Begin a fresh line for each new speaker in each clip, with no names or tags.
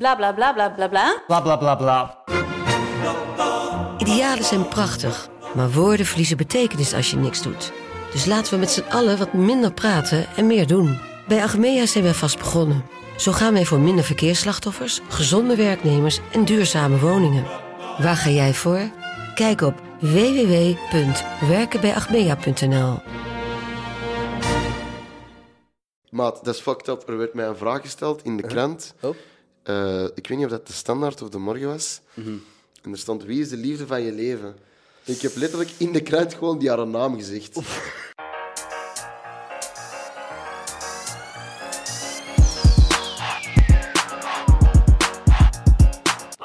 Bla bla bla bla bla bla.
Bla bla bla bla.
Idealen zijn prachtig, maar woorden verliezen betekenis als je niks doet. Dus laten we met z'n allen wat minder praten en meer doen. Bij Agmea zijn wij vast begonnen. Zo gaan wij voor minder verkeersslachtoffers, gezonde werknemers en duurzame woningen. Waar ga jij voor? Kijk op www.werkenbijagmea.nl.
Maat, dat is fucked up. Er werd mij een vraag gesteld in de krant.
Oh.
Eh, ik weet niet of dat de standaard of de morgen was. En er stond: Wie is de liefde van je leven? Ik heb letterlijk in de krant gewoon die haar naam gezegd.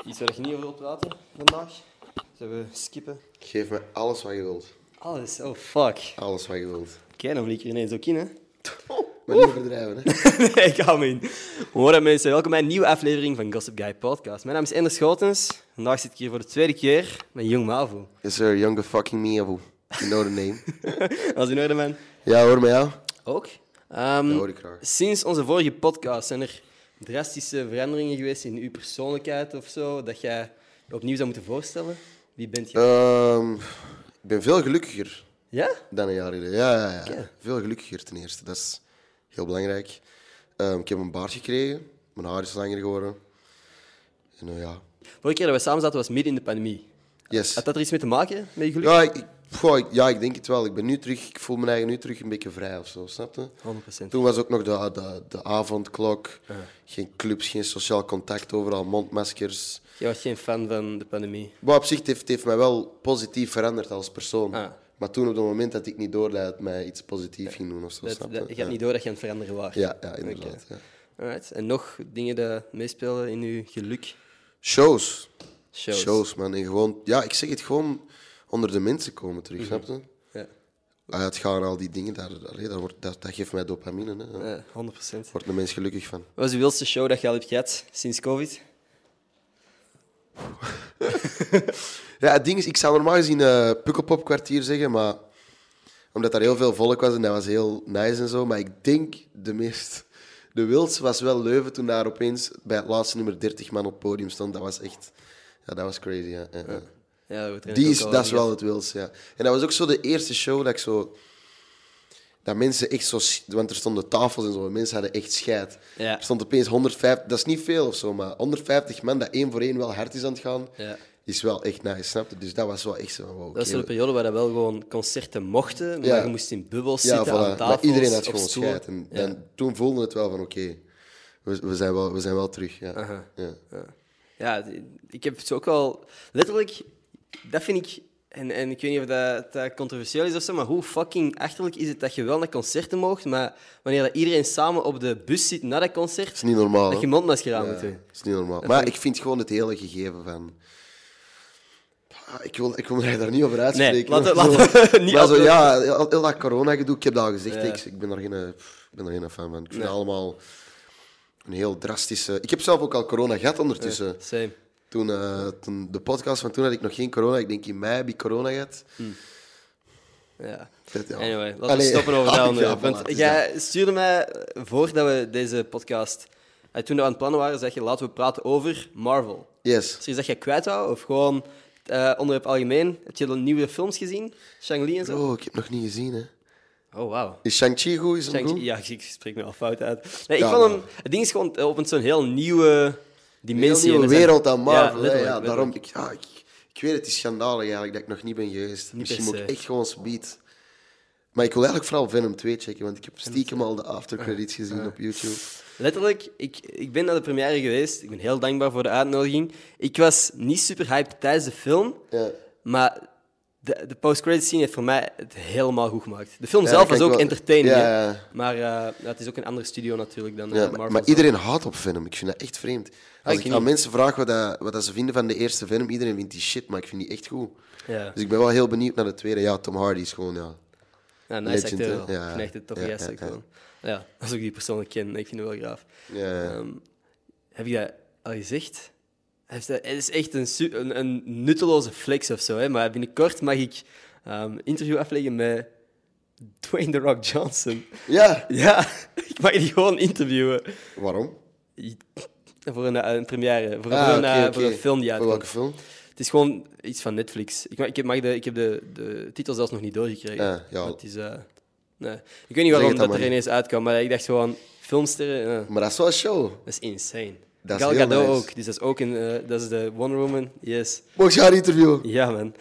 Iets waar ik niet over wil praten vandaag. Zullen we skippen?
Geef me alles wat je wilt.
Alles, oh fuck.
Alles wat je wilt.
Kijk, dan vlieg ik er ineens ook in, hè?
Maar niet overdrijven, hè?
nee, ik hou me in. Hoi mensen, welkom bij een nieuwe aflevering van Gossip Guy Podcast. Mijn naam is Ender Schotens. Vandaag zit ik hier voor de tweede keer met Jong Mavo.
Yes, sir. Younger fucking me, abu. You know the name.
Als in orde, man.
ja, hoor mij, ja.
Ook. Ehm,
Dat hoor ik graag.
Sinds onze vorige podcast zijn er drastische veranderingen geweest in uw persoonlijkheid of zo, dat jij je opnieuw zou moeten voorstellen. Wie bent je?
Ehm, ik ben veel gelukkiger
ja?
dan een jaar geleden. Ja, ja, ja. Veel gelukkiger ten eerste. Dat is heel belangrijk. Ehm, ik heb een baard gekregen. Mijn haar is langer geworden. En nou ja.
Vorige keer dat we samen zaten was midden in de pandemie.
Yes.
Had dat er iets mee te maken, met je geluk?
Ja ik, ik- goh, ik- ja, ik denk het wel. Ik ben nu terug, ik voel mijn eigen nu terug een beetje vrij of zo, snap je?
100%.
Toen was ook nog de, de, de avondklok. Geen clubs, geen sociaal contact overal, mondmaskers.
Jij was geen fan van de pandemie.
Maar op zich het heeft het heeft mij wel positief veranderd als persoon.
Ah.
Maar toen op het moment dat ik niet doordat het mij iets positiefs ging doen of zo,
Dat,
snap
dat,
je?
je had niet door dat je aan het veranderen was.
ja, ja, inderdaad. ja.
Alright. En nog dingen die meespelen in je geluk?
Shows.
Shows.
man. En gewoon, ja, ik zeg het gewoon, onder de mensen komen
Mhm.
terug, snap je?
Ja,
Ah, het gaan al die dingen, daar, allee, daar wordt, dat, dat geeft mij dopamine. Hè. Daar
ja 100%. Wat
wordt een mens gelukkig van.
was de wildste show dat je al hebt gehad sinds COVID?
Ja, het ding is, ik zou normaal gezien eh Pukkelpopkwartier zeggen, maar omdat daar heel veel volk was en dat was heel nice en zo. Maar ik denk de meest. De wildste was wel Leuven toen daar opeens bij het laatste nummer 30 man op het podium stond. Dat was echt. Ja, dat was crazy. Ja. ja, ja.
Ja, dat wordt er
Die
net
is,
ook al
dat is
gezegd.
wel het wildste, ja. En dat was ook zo de eerste show dat ik zo. Dat mensen echt zo. s- Want er stonden tafels en zo. en Mensen hadden echt scheid.
Ja.
Er stond opeens 150. Dat is niet veel of zo, maar 150 man dat één voor één wel hard is aan het gaan.
Ja.
Is wel echt nice, snap je? Dus dat was wel echt zo. van, Wow,
Dat is
oké,
zo'n
we-
periode waar dat wel gewoon concerten mochten, maar
Ja.
je moest in bubbels
ja,
zitten, aan
voilà.
tafels,
Maar iedereen had
op
gewoon
stoelen.
scheid. En, en toen voelde het wel van oké, we, we, zijn wel, we zijn wel terug. Ja. Ja.
Ja, ik heb het ook wel... Letterlijk, dat vind ik... En, en ik weet niet of dat, dat controversieel is of zo, maar hoe fucking achterlijk is het dat je wel naar concerten moogt, maar wanneer dat iedereen samen op de bus zit na dat concert,
is niet normaal,
dat je
hè?
mondmasker aan moet
Ja,
doen.
dat is niet normaal. maar ik vind gewoon het hele gegeven van. Ah, Ik wil, ik wil mij daar niet over uitspreken.
Nee, laten-
maar zo-
laten we niet
maar zo,
afdrukken.
ja, heel, heel dat corona-gedoe, ik heb dat al gezegd. Ik, ik ben daar geen, eh, pff, ik ben daar geen fan van. Ik vind dat allemaal een heel drastische... Ik heb zelf ook al corona gehad ondertussen.
Same.
Toen, eh, toen, de podcast van toen had ik nog geen corona. Ik denk in mei heb ik corona gehad.
Ja.
Dat- ja.
Hm. Anyway, laten
Allee.
we stoppen over
Ah,
dat onderwerp.
ja, voilà, het
want
is
jij stuurde mij, eh, voordat we deze podcast... eh, Toen we aan het plannen waren, zeg je, laten we praten over Marvel.
Yes.
Is er iets dat jij kwijt wou? Of gewoon eh onderwerp algemeen? Heb je de nieuwe films gezien? Shang-Li en zo?
Oh, ik heb nog niet gezien, hè.
Oh, wauw.
Is Shang-Chi goed? Is hem
Shang-Chi-
goed?
Ja, ik spreek me al fout uit. Nee, ik
Ja,
vond hem,
maar-
het ding is gewoon eh, op een zo'n heel nieuwe dimensie.
Heel
En
nieuwe
er zijn-
wereld aan Marvel,
Ja,
hè.
letterlijk,
ja,
letterlijk.
daarom... Ik, ja, ik, ik weet het, het is schandalig eigenlijk dat ik nog niet ben geweest. Misschien
per
moet ik
se.
echt gewoon speed. Maar ik wil eigenlijk vooral Venom 2 checken, want ik heb stiekem al de
Ah,
aftercredits gezien op YouTube.
Letterlijk, ik, ik ben naar de première geweest. Ik ben heel dankbaar voor de uitnodiging. Ik was niet super hyped tijdens de film,
Ja.
maar de, de post-credit scene heeft voor mij het helemaal goed gemaakt. De film
Ja,
zelf
dat
was
kan
ook
ik wel-
entertaining,
Ja,
hè.
ja, ja.
maar eh, ja, het is ook een andere studio natuurlijk dan eh,
Ja, maar,
Marvel. Ah,
maar iedereen houdt op Venom. Ik vind dat echt vreemd. Als
ik
ik
niet.
aan mensen vraag wat, dat, wat dat ze vinden van de eerste Venom, iedereen vindt die shit, maar ik vind die echt goed.
Ja.
Dus ik ben wel heel benieuwd naar de tweede. Ja, Tom Hardy is gewoon... Ja.
Ja, nice
Legend,
acteur
hè?
wel.
Ja.
Ik vind echt een toffe
Ja,
gast
ja,
ook
ja.
wel. Ja, als ik die persoonlijk ken, ik vind hem wel graaf.
Ja, ja.
Ehm, heb je dat al gezegd? Hij heeft dat- Het is echt een, su- een, een nutteloze flex of zo, hè? maar binnenkort mag ik ehm interview afleggen met Dwayne The Rock Johnson.
ja.
Ja, ik mag die gewoon interviewen.
Waarom?
Voor een, eh, een première, voor,
Ah,
voor een,
oké,
eh, voor
oké.
een film die
Voor
uitkomt.
welke film?
Het is gewoon iets van Netflix. Ik, ik heb, mag de, ik heb de, de titel zelfs nog niet doorgekregen.
Ah, ja.
Maar Het is, eh, nee. Ik weet niet
het
waarom
dan
dat
maar
er
niet.
ineens uitkwam, maar ik dacht gewoon, filmsterren, eh,
Maar dat is wel een show.
dat is insane.
Dat is
Gal
heel
Gadot
nice.
ook, dus dat is ook een, eh, dat is de Wonder Woman, yes.
Mocht je haar interviewen?
Ja, man.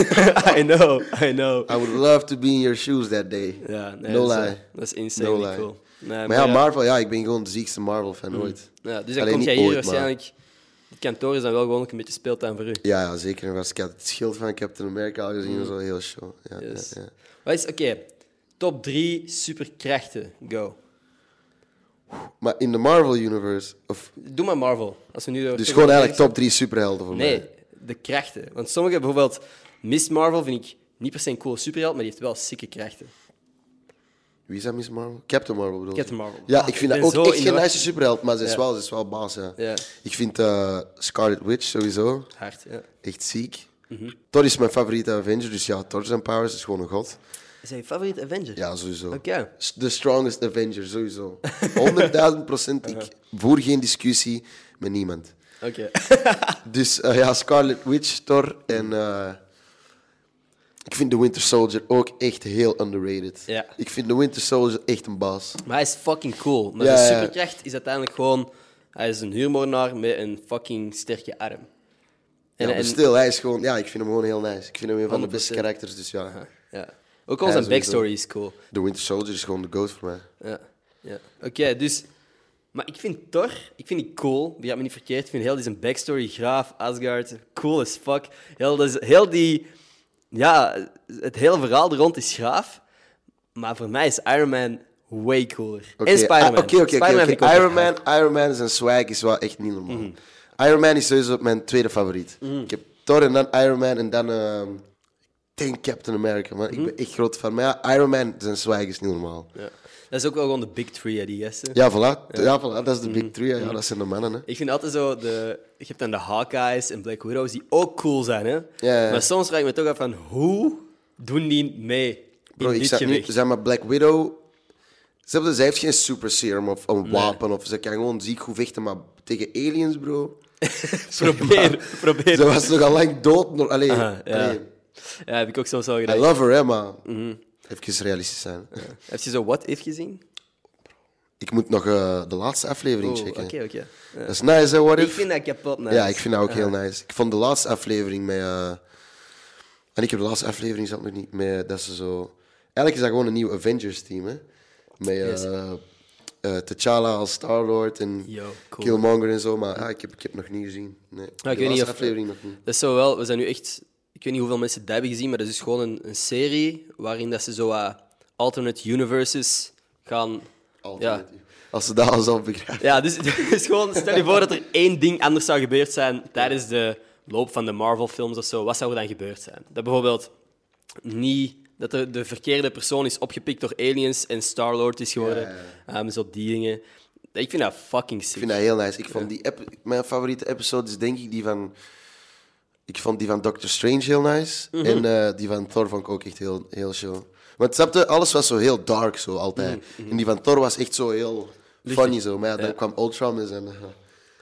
I know, I know.
I would love to be in your shoes that day.
Ja, nee,
no
dat, is, eh,
lie.
dat is insane
No lie.
cool. Nee,
maar ja, Marvel, ja, ik ben gewoon de ziekste Marvel-fan ooit.
ja, dus dan
Alleen
kom
niet
jij hier
ooit, maar-
waarschijnlijk... Het kantoor is dan wel gewoon ook een beetje speeltuin voor u.
Ja, ja, zeker. En was- Ik had het schild van Captain America al gezien, dat was wel heel show. Ja, ja,
Mm. Yes.
ja.
Wat is, oké, top drie superkrachten, go.
Maar in de Marvel-universe, of...
Doe maar Marvel. Als we nu door-
Dus gewoon eigenlijk top drie superhelden voor
Nee,
mij.
de krachten. Want sommige, bijvoorbeeld Miss Marvel, vind ik niet per se een cool superheld, maar die heeft wel sikke krachten.
Wie is dat, Miss Marvel? Captain Marvel bedoel je?
Captain Marvel.
Ja,
Ah,
ik
ik
vind
ben
dat
zo
ook echt
in
geen
de-
nice superheld, maar ze is,
Ja.
wel, ze is wel baas, ja.
Ja.
Ik vind eh, Scarlet Witch sowieso
Hard, ja.
echt ziek.
Mhm.
Thor is mijn favoriete Avenger, dus ja, Thor zijn powers is gewoon een god.
Is hij je favoriete Avenger?
Ja, sowieso.
Oké.
S- The strongest Avenger, sowieso. 100.000 procent. Ik voer geen discussie met niemand.
Oké.
Dus eh, ja, Scarlet Witch, Thor en... eh, ik vind The Winter Soldier ook echt heel underrated.
Ja.
Ik vind The Winter Soldier echt een baas.
maar hij is fucking cool. Maar
Ja,
zijn
ja.
superkracht is uiteindelijk gewoon... Hij is een huurmoordenaar met een fucking sterke arm.
Ja, maar stil, hij is gewoon... Ja, ik vind hem gewoon heel nice. Ik vind hem een van de beste
100%.
karakters, dus ja.
ja. Ook al
Ja,
zijn
sowieso.
backstory is cool.
The Winter Soldier is gewoon de goat voor mij.
Ja. ja. Oké, dus... Maar ik vind Thor, ik vind die cool. Die gaat me niet verkeerd. Ik vind heel die zijn backstory, graaf, Asgard, cool as fuck. Heel, dat is- heel die... Ja, het hele verhaal er rond is graaf. Maar voor mij is Iron Man way cooler.
Oké,
en Spider-Man.
ah, Oké, oké, oké,
Spider-Man
oké.
vind ik ook
Iron
echt
Man, Iron Man zijn swag is wel echt niet normaal.
Mhm.
Iron Man is sowieso mijn tweede favoriet. Ik heb Thor en dan Iron Man en dan... ehm, ik denk Captain America, man. Ik ben echt groot fan. Maar ja, Iron Man zijn swag is niet normaal.
hard. Mhm. Ja. Dat is ook wel gewoon de big three, hè, die gasten.
Ja, voilà. Ja, voilà. Dat is de
Mhm.
big three. hè. Ja, dat zijn de mannen, hè.
Ik vind altijd zo, de, je hebt dan de Hawkeyes en Black Widows die ook cool zijn, hè.
Ja, ja.
Maar soms vraag ik me toch af van, hoe doen die mee in
Bro, ik
dit
zat nu...
gewicht?
Zeg maar, Black Widow... Snap je, Zij heeft geen super serum of een wapen. Of ze kan gewoon ziek goed vechten, maar tegen aliens, bro...
Probeer, probeer.
Ze was nog al lang dood. nog- Allee,
Aha, ja.
allee.
Ja, heb ik ook soms wel
I
gedaan.
love her, hè, maar...
Mhm.
Even realistisch zijn.
Heb je zo What If gezien?
Ik moet nog eh, de laatste aflevering
Oh,
checken.
Oké, oké. Ja.
Dat is nice, hè, What
Ik
If?
vind dat kapot nice.
Ja, ik vind dat ook heel nice. Ik vond de laatste aflevering met... eh, En ik heb de laatste aflevering zat nog niet met dat ze zo... Eigenlijk is dat gewoon een nieuw Avengers-team, hè. Met eh, eh, T'Challa als Star-Lord en
Yo, cool. Ah,
Killmonger en zo. Maar ah, ik, heb, ik heb nog niet gezien. Nee, de
ik weet niet
laatste
of...
aflevering nog niet.
Dat is zo wel... We zijn nu echt... Ik weet niet hoeveel mensen dat hebben gezien, maar dat is dus gewoon een, een serie waarin dat ze zo eh, alternate universes gaan...
Altijd.
Ja.
Als ze dat al zelf begrijpen.
Ja, dus, dus gewoon... Stel je voor dat er één ding anders zou gebeurd zijn tijdens de loop van de Marvel-films of zo. Wat zou er dan gebeurd zijn? Dat bijvoorbeeld niet... Dat de, de verkeerde persoon is opgepikt door aliens en Star-Lord is geworden.
Ja,
Ehm, zo die dingen. Ik vind dat fucking sick.
Ik vind dat heel nice. Ik vond die ep- mijn favoriete episode is denk ik die van. Ik vond die van Doctor Strange heel nice.
Mhm.
En eh, die van Thor vond ik ook echt heel, heel chill. Want snap je, alles was zo heel dark zo altijd. En die van Thor was echt zo heel funny zo. Maar ja, dan
Mhm, Ja.
kwam Ultron met zijn eh,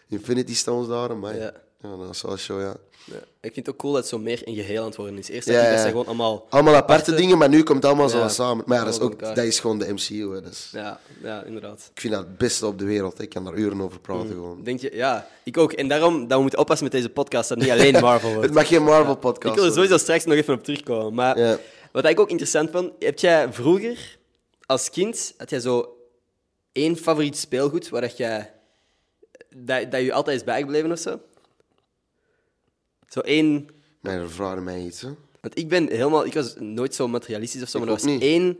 Infinity Stones daar. Maar ja.
Ja.
dat was wel show, ja.
Ja, ik vind het ook cool dat het zo meer een geheel aan het worden is. Eerst
Ja,
dacht ik
ja.
dat ze gewoon allemaal...
Allemaal aparte, dingen, maar nu komt het allemaal zo
Ja.
wat samen. Maar ja, dat is,
Allemaal
ook,
door
dat
elkaar.
is gewoon de MCU. Hè. Dat is-
Ja, ja inderdaad.
ik vind dat het beste op de wereld. hè. Ik kan daar uren over praten
Mhm.
gewoon.
Denk je, ja, ik ook. En daarom dat we moeten oppassen met deze podcast, dat het niet alleen Marvel wordt.
Het mag geen Marvel-podcast
ik wil er sowieso straks nog even op terugkomen. Maar
Ja.
wat ik ook interessant vond, heb jij vroeger als kind, had jij zo één favoriet speelgoed waar dat jij... Dat, dat je altijd is bijgebleven of zo? Zo één...
Mijn vragen mij iets, hè.
Want ik ben helemaal, ik was nooit zo materialistisch of zo,
Ik
maar er
ook
was
niet.
één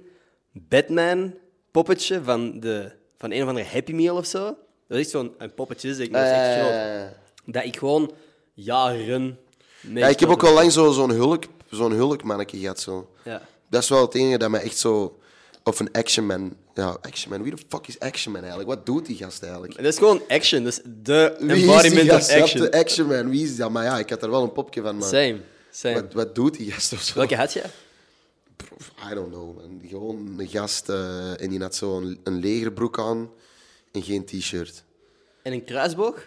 Batman poppetje van, de, van een of andere Happy Meal of zo. Dat is echt zo'n een poppetje, zeg ik. maar Dat is echt groot.
Eh,
Dat ik gewoon jaren. mee
ja, ik heb
gespeeld
ook al lang zo- zo'n hulk, zo'n hulkmannetje gehad. Zo.
Ja.
Dat is wel het enige dat mij echt zo... Of een Action Man. Ja, Action Man. Wie de fuck is Action Man eigenlijk? Wat doet die gast eigenlijk?
En dat is gewoon action, dat is de
Wie is
embodiment
die gast?
of
Ja,
action.
De action Man. Wie is dat? Maar ja, ik had er wel een popje van. Maar
Same, same.
wat, wat doet die gast of zo?
Welke had je?
I don't know. man. Gewoon een gast eh, en die had zo'n een legerbroek aan en geen t-shirt.
En een kruisboog?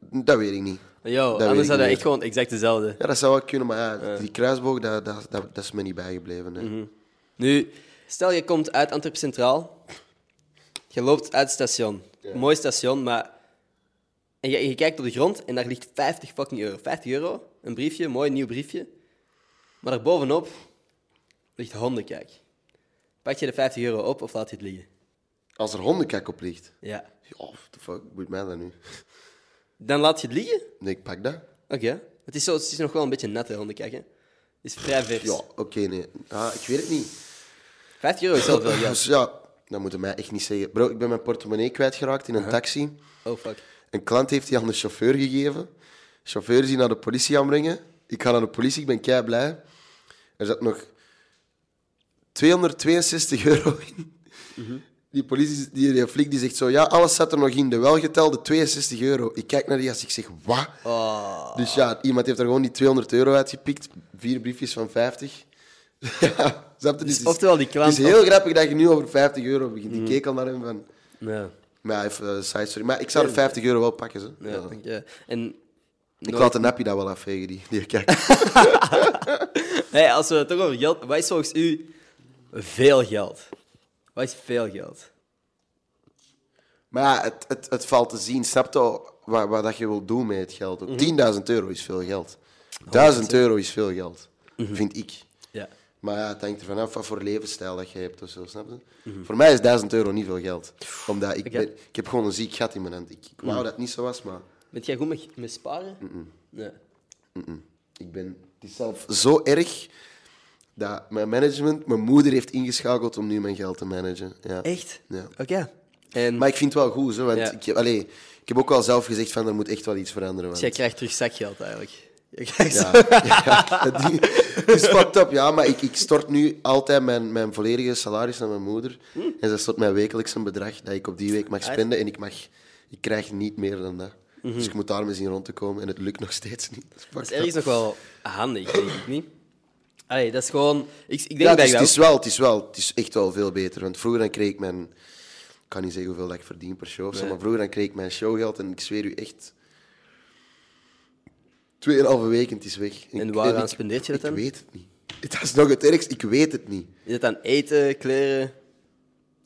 Dat weet ik niet.
Yo,
weet ik
anders hadden we
niet.
echt gewoon exact dezelfde.
Ja, dat zou wel kunnen, maar ja, die kruisboog, dat, dat, dat, dat is me niet bijgebleven.
Mhm.
hè.
Nu, stel je komt uit Antwerp Centraal. Je loopt uit het station. Mooi station, maar... En je, je kijkt op de grond en daar ligt 50 fucking euro. 50 euro, een briefje, een mooi nieuw briefje. Maar daarbovenop ligt hondenkijk. Pak je de 50 euro op of laat je het liggen?
Als er hondenkak op ligt,
Ja.
ja, what the fuck, boeit mij dat nu?
Dan laat je het liggen?
Nee, ik pak dat.
Oké. Het, is zo, het is nog wel een beetje nat, hè, hondenkijk. Hè? Het is vrij vers.
Ja, oké, nee. Ah, ik weet het niet.
50 euro is wel veel geld.
Dus ja, dat moeten mij echt niet zeggen. Bro, ik ben mijn portemonnee kwijtgeraakt in een taxi.
Oh, fuck.
Een klant heeft die aan de chauffeur gegeven. De chauffeur is die naar de politie gaan brengen. Ik ga naar de politie, ik ben kei blij. Er zat nog 262 euro in. Die politie, die, die flik, die zegt zo, ja, alles zat er nog in. De welgetelde 62 euro. Ik kijk naar die als ik zeg, wat?
Ah.
Dus ja, iemand heeft er gewoon die 200 euro uitgepikt. Vier briefjes van 50. ja, snap je? Dus het is-
oftewel die klant- Mhm.
Het is heel grappig dat je nu over 50 euro begint. Ik keek al naar hem van...
Ja.
Maar ja, even eh, side story. Maar ik zou de 50 euro wel pakken. Zo.
Ja,
Ja.
dank je. En
Ik
nooit-
laat een appie dat wel afvegen, die, die kijkt.
Hey, als we het toch over geld... Wat is volgens u veel geld? Wat is veel geld?
maar ja, het, het, het valt te zien. Snap je wat, wat dat je wil doen met het geld? ook?
Mhm.
10.000 euro is veel geld. 1000 euro is veel geld,
Mhm.
vind ik.
Ja.
Maar ja, het hangt ervan af wat voor levensstijl dat je hebt of zo, snap je?
Mhm.
Voor mij is 1000 euro niet veel geld. Omdat ik, ben, ik heb gewoon een ziek gat in mijn hand. Ik, ik wou
Mhm.
dat het niet zo was, maar
Bent jij goed met, met sparen? Nee.
ik ben het is zelf zo erg dat mijn management, mijn moeder heeft ingeschakeld om nu mijn geld te managen. Ja.
Echt?
Ja.
Oké. En
Maar ik vind het wel goed, zo, want
Ja.
ik, heb- allee, ik heb ook wel zelf gezegd van er moet echt wel iets veranderen. Want,
dus jij krijgt terug zakgeld eigenlijk? Je krijgt zo-
ja, ja, dat ding is fucked up, ja, maar ik, ik stort nu altijd mijn, mijn volledige salaris naar mijn moeder.
Hm.
En zij stort mij wekelijks een bedrag dat ik op die week mag spenden en ik, mag, ik krijg niet meer dan dat. Dus ik moet daarmee zien rond te komen en het lukt nog steeds niet. Dat is
Mhm. Dat is
fucked
ergens
up.
nog wel handig, denk ik niet? Allee, dat is gewoon... Ik, ik denk
Ja,
dat
dus
ik
het
dat
is wel, het is wel, het is echt wel veel beter. Want vroeger dan kreeg ik mijn, ik kan niet zeggen hoeveel dat ik verdien per show, of zo, maar vroeger dan kreeg ik mijn showgeld en ik zweer u echt, tweeënhalve week en het is weg.
En
ik-
waaraan
ik-
spendeer je dat dan?
Ik weet het niet. Dat is nog het ergst, ik weet het niet.
Is het dan eten, kleren?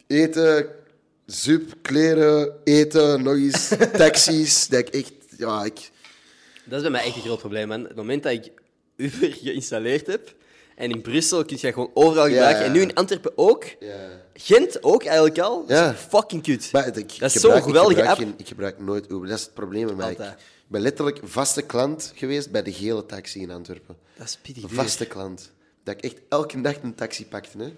Eten, zup, kleren, eten, nog eens, taxis, dat ik echt, ja, ik...
Dat is bij mij echt een groot probleem, man. Het moment dat ik Uber geïnstalleerd heb... En in Brussel kun je gewoon overal gebruiken. En nu in Antwerpen ook.
Ja.
Gent ook eigenlijk al. Dat is
Ja.
fucking kut.
Maar het- ik,
dat is
ik
zo'n
gebruik,
geweldige
ik gebruik,
app.
geen- ik gebruik nooit Uber, dat is het probleem bij mij. Ik
Altijd.
ik ben letterlijk vaste klant geweest bij de gele taxi in Antwerpen.
Dat is pittig
Een
duur.
vaste klant. Dat ik echt elke dag een taxi pakte. Hè.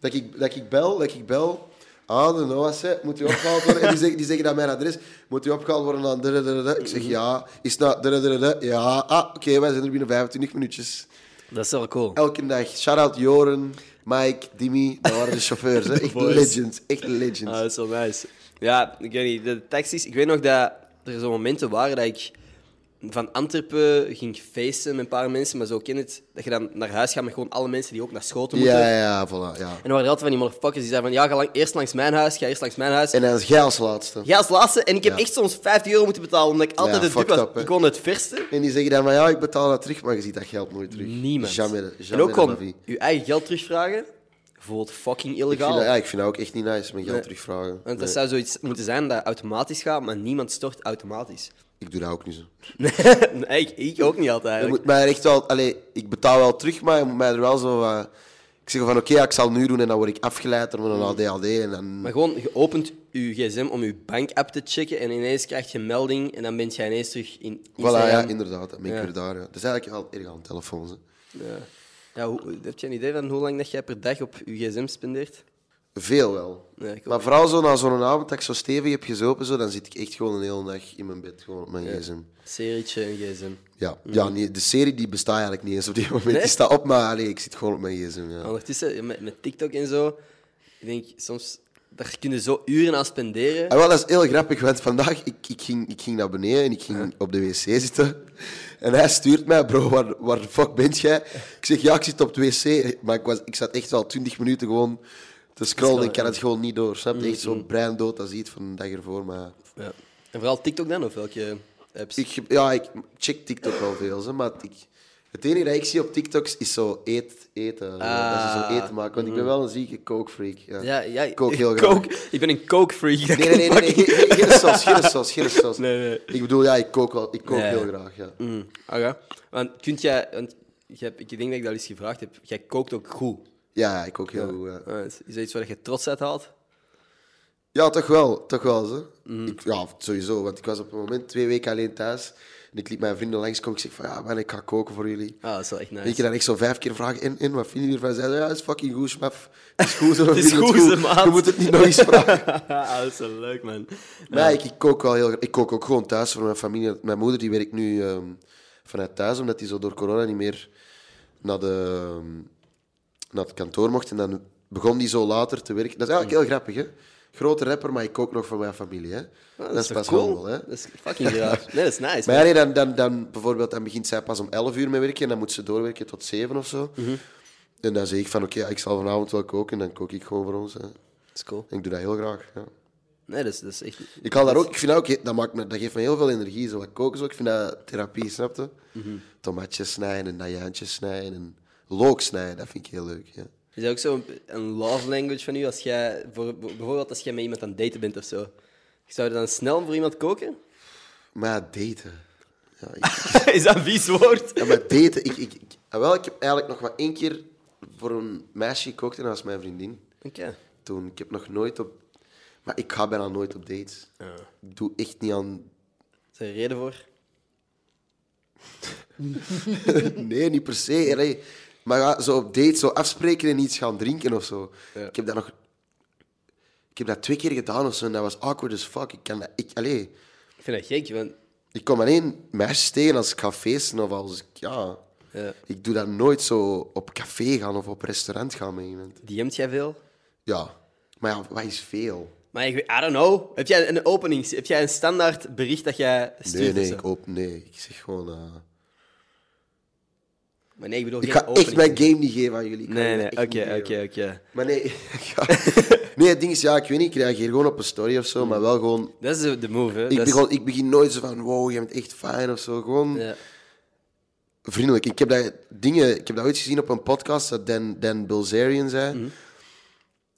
Dat, ik, dat ik bel, dat ik bel. Ah, de Noas, hè, moet u opgehaald worden? En die zeggen, die zeggen dat mijn adres. Moet u opgehaald worden aan... dere, dere, dere? Ik zeg ja. Is het nou... dere, dere, dere? Ja. Ah, oké, wij zijn er binnen 25 minuutjes.
Dat is wel cool.
Elke dag. Shout-out Joren, Mike, Dimi. Dat waren de chauffeurs. Hè. Echt
boys.
legends. Echt legends.
Ah, dat is wel nice. Ja, ik weet niet. De taxis, ik weet nog dat er zo momenten waren dat ik van Antwerpen ging feesten met een paar mensen, maar zo ken je het, dat je dan naar huis gaat met gewoon alle mensen die ook naar Schoten moeten.
ja, ja, voilà. Ja.
En er waren er altijd van die motherfuckers die zeiden van, ja, ga lang, eerst langs mijn huis, ga eerst langs mijn huis.
En dan is jij als laatste.
Jij als laatste. En ik heb
Ja.
echt soms 50 euro moeten betalen, omdat ik altijd
Ja,
het dupe
fucked
was.
up, hè.
ik kon het verste.
En die zeggen dan van ja, ik betaal dat terug, maar je ziet dat geld nooit terug.
Niemand.
Jamais, de-
en ook
jamais de la vie.
gewoon je eigen geld terugvragen, voelt fucking
Ik vind,
illegaal.
dat, ja, ik vind dat ook echt niet nice, mijn geld terugvragen.
Want dat
Nee.
zou zoiets moeten zijn dat automatisch gaat, maar niemand stort automatisch.
Ik doe dat ook niet zo.
nee, ik, ik ook niet altijd
Je
eigenlijk.
moet mij er echt wel, allee, ik betaal wel terug, maar je moet mij er wel zo. eh, ik zeg van oké, ja, ik zal nu doen en dan word ik afgeleid door
Mm.
een ADHD. En dan,
Maar gewoon, je opent je gsm om je bankapp te checken en ineens krijg je een melding en dan ben je ineens terug in Instagram.
voilà, ja, inderdaad, dan ben ik
Ja.
weer daar. Ja. Dat is eigenlijk wel erg aan de telefoon. Hè.
Ja, hoe, heb je een idee van hoe lang dat jij per dag op je gsm spendeert?
Veel wel.
Ja, ik ook.
maar vooral zo na zo'n avond dat ik zo stevig heb gezopen, zo, dan zit ik echt gewoon een hele dag in mijn bed, gewoon op mijn gsm.
Serietje en gsm.
Ja, ja nee, de serie die bestaat eigenlijk niet eens op dit moment.
Mm. Nee?
Die staat op, maar allee, ik zit gewoon op mijn gsm. Ja.
Ondertussen, ja, met, met TikTok en zo, ik denk soms, daar kun je zo uren aan spenderen.
Ah, wel, dat is heel grappig, want vandaag ik, ik ging ik ging naar beneden en ik ging op de wc zitten. En hij stuurt mij, bro, waar, waar de fuck bent jij? Ik zeg, ja, ik zit op de wc. Maar ik, was, ik zat echt al twintig minuten gewoon te scrollen. Ik kan het gewoon niet door. Snap je? Echt zo'n breindood als iets van de dag ervoor. Maar
Ja. En vooral TikTok dan, of welke apps.
Ik, ja, ik check TikTok wel veel, zo, maar ik, het enige dat ik zie op TikToks is zo eet, eten. zo. dat ze zo eten maken, want ik ben wel een zieke kookfreak. Ah, Ja.
ja, ja,
ik kook heel graag.
Coke- Ik ben een coke freak.
Nee, nee, nee, nee, nee, geen- geen geen saus, geen saus, geen saus.
Nee, nee.
Ik bedoel, ja, ik kook, wel, ik kook
Ja.
heel graag, ja.
Mm, oké. Want kunt jij... Want je hebt- ik denk dat ik dat al eens gevraagd heb. Jij kookt ook goed.
Ja, ik kook heel goed, ja.
Eh, is is dat iets waar je trots uit haalt?
Ja, toch wel. Toch wel, zo.
Mm.
Ik, ja, sowieso. Want ik was op een moment twee weken alleen thuis. En ik liet mijn vrienden langskomen. Ik zeg van, ja man, ik ga koken voor jullie.
Ah, dat is wel echt nice.
Weet je, dan echt zo vijf keer vragen. En, en wat vinden jullie ervan? Zeiden, ja, het is fucking goed, smaf. Het is goed, zo. we
Het is
vinden
goed, ze, maat.
Je moet het niet nog eens vragen.
Ah, dat is wel leuk, man.
Maar ik, ik kook wel heel graag. Ik kook ook gewoon thuis voor mijn familie. Mijn moeder die werkt nu ehm, vanuit thuis, omdat die zo door corona niet meer naar, de, ehm, naar het kantoor mocht. En dan begon die zo later te werken. Dat is eigenlijk heel grappig, hè? Grote rapper, maar ik kook nog voor mijn familie. Hè? dat, is
Ah, toch
pas
cool?
handel, hè?
Dat is fucking graaf. Nee, dat is nice.
Maar ja, nee, dan, dan, dan, bijvoorbeeld, dan begint zij pas om 11 uur mee werken en dan moet ze doorwerken tot 7 of zo.
Mhm.
En dan zeg ik van oké, ja, ik zal vanavond wel koken en dan kook ik gewoon voor ons. Hè.
man. Dat is cool.
En ik doe dat heel graag. Ja.
Nee, dat is, dat is echt...
Ik haal daar ook, ik vind dat ook, dat, maakt me, dat geeft me heel veel energie. Zo wat koken, zo. ik vind dat therapie, snap je? Tomatjes snijden en najaantjes snijden en look snijden, dat vind ik heel leuk. Ja.
Is dat ook zo'n een love language van u? Als jij, voor, bijvoorbeeld als jij met iemand aan het daten bent of zo. Zou je dan snel voor iemand koken?
Maar ja, daten. Ja, ik,
is dat een vies woord?
ja, maar daten, ik, ik, ik- ah, wel, ik heb eigenlijk nog maar één keer voor een meisje gekookt en dat was mijn vriendin.
Oké.
Toen, ik heb nog nooit op, maar ik ga bijna nooit op dates. Ik doe echt niet aan,
Is er een reden voor?
nee, niet per se. allee. Maar ja, zo op dates, zo afspreken en iets gaan drinken of zo.
Ja.
Ik heb dat nog Ik heb dat twee keer gedaan of zo en dat was awkward as fuck. Ik, kan dat, ik, allee,
Ik vind dat gek, want...
ik kom alleen meisjes tegen als ik ga feesten of als ik... Ja,
Ja.
ik doe dat nooit zo op café gaan of op restaurant gaan met iemand.
DM't jij veel?
Ja, maar ja, wat is veel?
Maar ik, weet- I don't know. Heb jij een opening? Heb jij een standaard bericht dat jij stuurt?
Nee,
of
nee,
zo?
ik, op, nee ik zeg gewoon... eh,
Maar nee, ik bedoel
ik
geen
ga echt
opening.
mijn game niet geven aan jullie. Ik ga
Nee,
jullie
nee,
echt niet
oké,
geven.
oké, oké.
Maar nee, ik ga- nee, het ding is, ja, ik weet niet, ik reageer gewoon op een story of zo, maar wel gewoon...
Dat is de- de move, hè.
Ik
Dat is-
begin, ik begin nooit zo van, wow, je bent echt fijn of zo. Gewoon...
Ja.
vriendelijk. Ik heb dat, dingen, ik heb dat ooit gezien op een podcast dat Dan, Dan Bilzerian zei.
Mhm.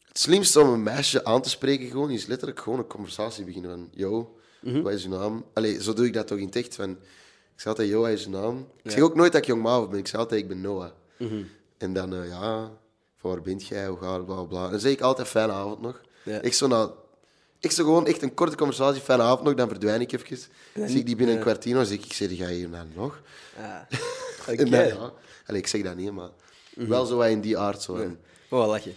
Het slimste om een meisje aan te spreken gewoon, is letterlijk gewoon een conversatie beginnen van... Yo,
Mhm.
wat is je naam? Allee, zo doe ik dat toch in het echt. Van, ik zeg altijd, yo, wat is je naam? Ik zeg ook nooit dat ik jong Mavo ben. Ik zeg altijd, ik ben Noah.
Mhm.
En dan, eh, ja, van waar bent jij? Hoe gaat het? Bla, bla, bla. En dan zeg ik altijd, fijne avond nog.
Ja.
Ik zo na... Ik zo gewoon echt een korte conversatie, fijne avond nog, dan verdwijn ik even. Zie ik die binnen een kwartier, dan zeg ik, ik zeg, ga je hierna nog?
Ah.
En
Oké. Mhm.
dan, ja. Allee, ik zeg dat niet, maar wel zo wat in die aard. Zo. En,
Oh, lach je.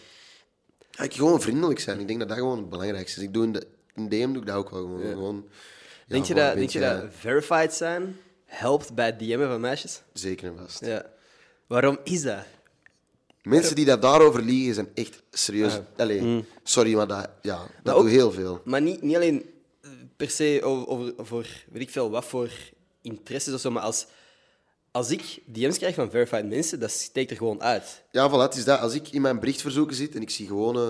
ja, ik gewoon vriendelijk zijn. Ik denk dat dat gewoon het belangrijkste is. Ik doe in, de, in DM doe ik dat ook wel gewoon. gewoon ja,
denk je,
gewoon
dat,
een
denk je
beetje,
dat verified zijn helpt bij het DM'en van meisjes?
Zeker en vast.
Ja. Waarom is dat?
Mensen die dat daarover liegen zijn echt serieus. Allee, sorry, maar dat, ja, dat,
ook-
doe heel veel.
Mm. Maar niet, niet alleen eh, per se over, over, voor weet ik veel wat voor interesses of zo, maar als, als ik DM's krijg van verified mensen, dat steekt er gewoon uit.
Ja, voilà, het is dat. Als ik in mijn berichtverzoeken zit en ik zie gewoon eh,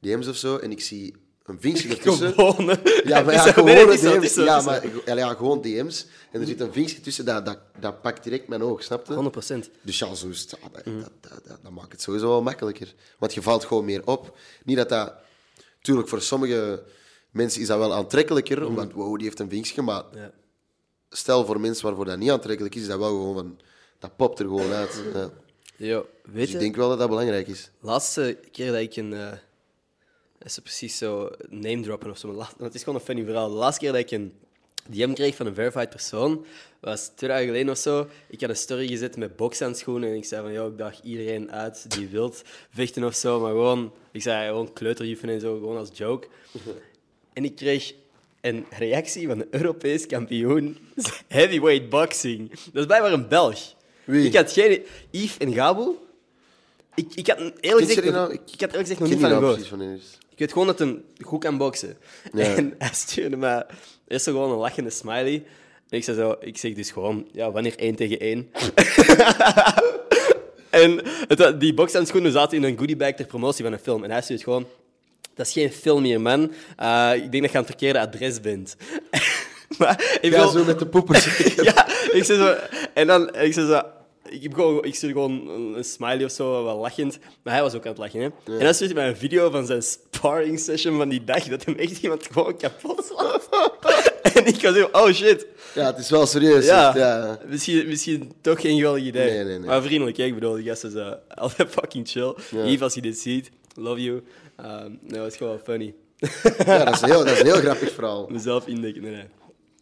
DM's of zo en ik zie een vinkje ertussen.
Gewoon. hè.
Ja, maar ja,
Het is zo-
gewoon
Dus- nee, het is zo, het
DM's.
is zo,
Ja,
het is zo.
maar ja, ja, gewoon DM's. En er zit een vinkje tussen, dat, dat, dat pakt direct mijn oog, snap je?
100%.
Dus ja, zo is het, ja, dat,
Mm.
dat, dat, dat- dat maakt het sowieso wel makkelijker. Want je valt gewoon meer op. Niet dat dat... Tuurlijk, voor sommige mensen is dat wel aantrekkelijker, omdat, wow, die heeft een vinkje. Maar
Mm. Ja.
stel voor mensen waarvoor dat niet aantrekkelijk is, is dat wel gewoon van... Dat popt er gewoon uit. Ja.
Yo, weet
Dus
Mm. je,
ik denk wel dat dat belangrijk is.
laatste keer dat ik een... eh dat is precies zo name droppen of zo, maar laat- want het is gewoon een funny verhaal. De laatste keer dat ik een DM kreeg van een verified persoon, was twee dagen geleden of zo. Ik had een story gezet met bokshandschoenen en ik zei van, joh, ik daag iedereen uit die wilt vechten of zo, maar gewoon... Ik zei gewoon kleuterjuffen en zo, gewoon als joke. En ik kreeg een reactie van de Europees kampioen heavyweight boxing. Dat is blijkbaar een Belg.
Wie?
Ik had geen... Yves en Gabo. Ik, ik had een- eerlijk
Kent je
gezegd...
die
nog-
nou?
Ik
Ik-
had eerlijk gezegd
Ik
nog
ken die
niet van hem
nou
gehoord.
precies van wie het is.
Ik weet gewoon dat hij goed kan boksen.
Ja.
En hij stuurde me eerst zo gewoon een lachende smiley. En ik zei zo, ik zeg dus gewoon, ja, wanneer één tegen één? en het, wa- die bokshandschoenen zaten in een goodiebag ter promotie van een film. En hij stuurt gewoon, dat is geen film meer, man. Eh, ik denk dat je aan het verkeerde adres bent. Maar ik
Ja,
wil-
zo met de poepers.
ja, ik zei zo... En dan, ik zei zo... Ik, heb gewoon, ik stuurde gewoon een een smiley of zo, wel lachend. Maar hij was ook aan het lachen, hè. En dan stuurde hij mij een video van zijn sparring session van die dag, dat hem echt iemand gewoon kapot sloeg. en ik was zo, oh shit.
Ja, het is wel serieus.
Ja,
echt, ja.
Misschien, misschien toch geen geweldig idee.
Nee, nee, nee.
Maar vriendelijk, hè? ik bedoel, die gast is eh, altijd fucking chill. Yves, als je dit ziet, love you. Ehm nou, het is gewoon funny.
Ja, dat is een heel, dat is een heel grappig verhaal.
Mezelf indekken, nee, nee.